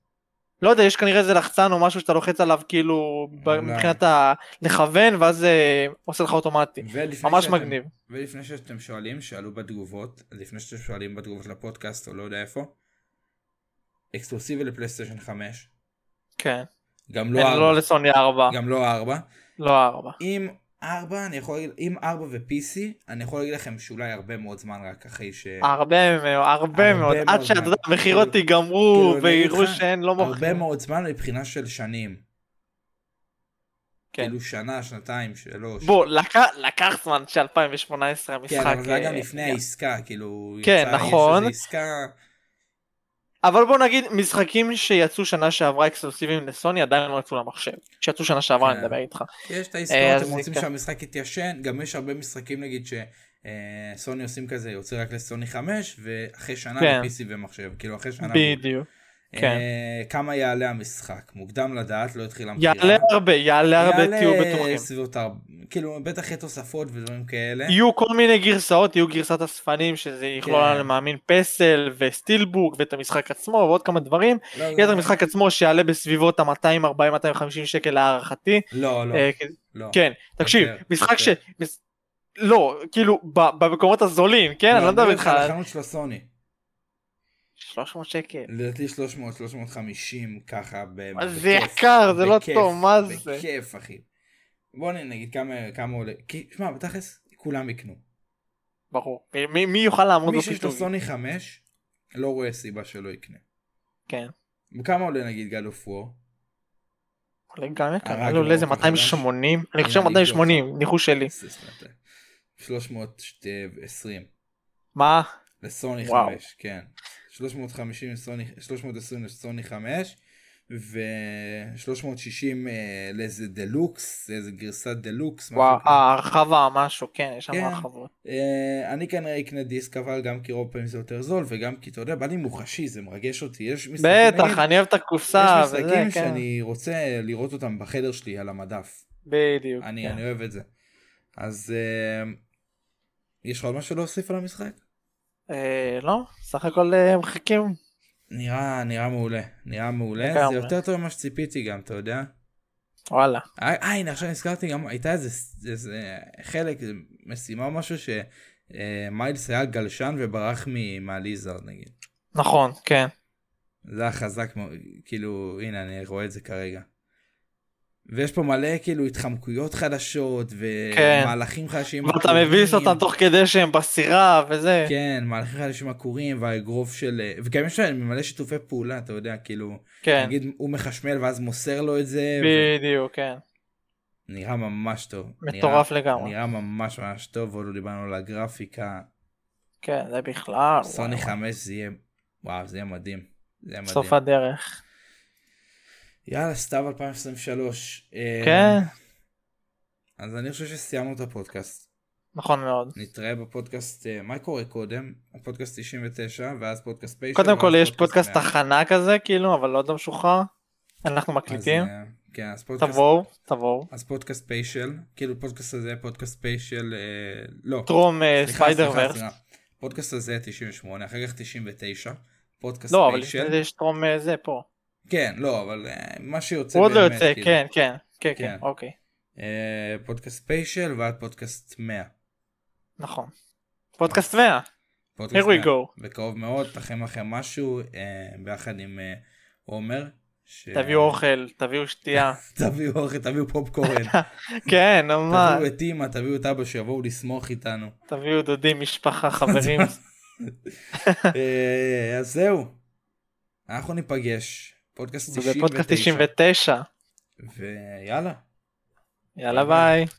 לא יודע, יש כנראה איזה לחצן או משהו שאתה לוחץ עליו כאילו ב-
אולי.
מבחינת ה... לכוון ואז זה עושה לך אוטומטי.
ולפני
ממש
שאתם-
מגניב.
ולפני שאתם שואלים, שאלו בתגובות, אז לפני שאתם שואלים בתגובות לפודקאסט או לא יודע איפה, אקסקלוסיבי לפלייסטיישן 5,
כן.
גם לא
אין, לא
4,
לסוני 4.
גם לא 4.
לא 4.
עם 4 אני יכול להגיד, עם 4 ו-PC, אני יכול להגיד לכם שאולי הרבה מאוד זמן רק אחרי ש...
אה, הרבה מאוד, הרבה מאוד. עד
כן. מאוד
שאתה
זמן.
יודע, המכירות
כאילו-
ייגמרו
כאילו, אני אגיד
ויראו
לך,
שאין, לא
הרבה
מוכרים.
מאוד זמן מבחינה של שנים.
כן.
כאילו שנה, שנתיים, שלוש.
בוא, לקח- לקח זמן ש-2018
כן,
המשחק...
אבל זה היה גם
אה,
לפני העסקה, כאילו...
כן,
יצא- יש
נכון.
איזו עסקה...
אבל בוא נגיד, משחקים שיצאו שנה שעברה אקסקלוסיביים לסוני עדיין לא יצאו למחשב. שיצאו שנה שעברה,
כן.
אני מדבר איתך.
יש את
אה,
העסקאות,
אז
הם רוצים
כן.
שהמשחק יתיישן, גם יש הרבה משחקים נגיד שסוני עושים כזה, יוצא רק לסוני 5, ואחרי שנה
כן.
ל-PC ומחשב, כאילו אחרי שנה.
בדיוק.
אה,
כן.
כמה יעלה המשחק? מוקדם לדעת, לא התחילה
יעלה הרבה, יעלה הרבה, תהיו בטוחים.
סביבות ארבע, כאילו בטח יהיה תוספות ודברים כאלה.
יהיו כל מיני גרסאות, יהיו גרסת אספנים שזה יכלול
כן.
עליהם מאמין פסל וסטילבוק ואת המשחק עצמו ועוד כמה דברים.
לא,
יהיה את
לא,
המשחק עצמו שיעלה בסביבות ה-240-250 שקל להערכתי.
לא, אוקיי. לא,
אה, כי-
לא.
כן, תקשיב,
יותר,
משחק ש...
יותר.
מס- לא, כאילו ב- במקומות הזולים, כן? אני לא מדבר איתך
על
על
החנות של הסוני.
300 שקל.
לדעתי 300, 350 ככה. ב-
מה זה
בכיף,
יקר, זה לא
בכיף,
טוב, מה זה?
בכיף אחי. בוא נ- נגיד כמה, כמה עולה, כי שמע בתכלס כולם יקנו.
ברור. מי- מי- מי יוכל לעמוד
מי שיש לו
בפיתוי?
סוני 5 לא רואה סיבה שלא יקנה.
כן.
כמה עולה נגיד גל אוף וור?
עולה גם לא, יקר,
הרג
עולה איזה
לו כל כך
280, אני חושב
אני לא
280, ניחוש שלי.
320
מה?
לסוני
וואו.
5, כן. 350 לסוני, 320 לסוני 5 ו-360 אה, לאיזה דלוקס, איזה גרסת דלוקס, משהו
וואו,
כזה.
ההרחבה משהו, כן, יש שם
לא כן.
הרחבות.
אה, אני כנראה אקנה דיסק אבל גם כי רוב פעמים זה יותר זול וגם כי אתה יודע בא לי מוחשי זה מרגש אותי יש משחקים
בטח,
נגיד,
אני אוהב את הקופסה
יש
וזה,
משחקים
כן.
שאני רוצה לראות אותם בחדר שלי על המדף
בדיוק.
אני
כן.
אני אוהב את זה אז אה, יש לך עוד משהו להוסיף על המשחק
אה, לא, סך הכל אה, מחכים.
נראה נראה מעולה נראה מעולה זה
לגמרי.
יותר טוב ממה שציפיתי גם אתה יודע
וואלה.
אה, אה הנה עכשיו נזכרתי גם הייתה איזה, איזה חלק איזה משימה או משהו שמיילס היה גלשן וברח מ- מהליזרד נגיד.
נכון, כן.
זה היה חזק מאוד, כאילו, הנה, אני רואה את זה כרגע. ויש פה מלא כאילו התחמקויות חדשות
כן.
ומהלכים חדשים.
ואתה
עקורים.
מביס אותם תוך כדי שהם בסירה וזה.
כן, מהלכים חדשים עקורים והאגרוף של... וגם יש להם מלא שיתופי פעולה, אתה יודע, כאילו,
כן,
נגיד הוא מחשמל ואז מוסר לו את זה,
בדיוק, כן.
נראה ממש טוב.
מטורף
נראה-
לגמרי.
נראה ממש ממש טוב, עוד לא דיברנו על הגרפיקה.
כן, זה בכלל.
סוני 5 זה יהיה, וואו, זה יהיה מדהים. זה יהיה מדהים.
סוף הדרך.
יאללה, סתיו 2023. אה,
כן,
אז אני חושב שסיימנו את הפודקאסט.
נכון מאוד.
נתראה בפודקאסט, אה, מה קורה קודם? הפודקאסט 99 ואז פודקאסט פיישר.
קודם כל
ואז
יש פודקאסט
100.
תחנה כזה, כאילו, אבל לא עוד לא משוחרר. אנחנו מקליטים.
אז, אה, כן, אז פודקאסט,
תבואו, תבואו.
אז פודקאסט פיישל, כאילו פודקאסט הזה, פודקאסט פיישל, אה, לא,
טרום אה,
סליחה,
ספיידר
סליחה,
ורס.
סליחה. פודקאסט הזה 98, אחר כך 99, פודקאסט
לא, אבל לפני
פיישל,
זה יש טרום אה, זה פה.
כן, לא, אבל אה, מה שיוצא
הוא עוד לא
באמת,
יוצא,
כאילו.
כן, כן, כן, כן,
כן.
אוקיי.
אה, פודקאסט פיישל ועד פודקאסט 100.
נכון. פודקאסט 100.
פודקאסט
Here we
מה-
go.
בקרוב מאוד, תכם לכם משהו אה, ביחד עם אה, עומר. ש...
תביאו אוכל, תביאו שתייה.
תביאו אוכל, תביאו פופקורן.
כן, נו מה.
תביאו את אימא, תביאו את אבא שיבואו לסמוך איתנו.
תביאו דודים, משפחה, חברים.
אה, אז זהו. אנחנו ניפגש. פודקאסט
זה בפודקאסט
99.
99.
ויאללה.
יאללה ביי.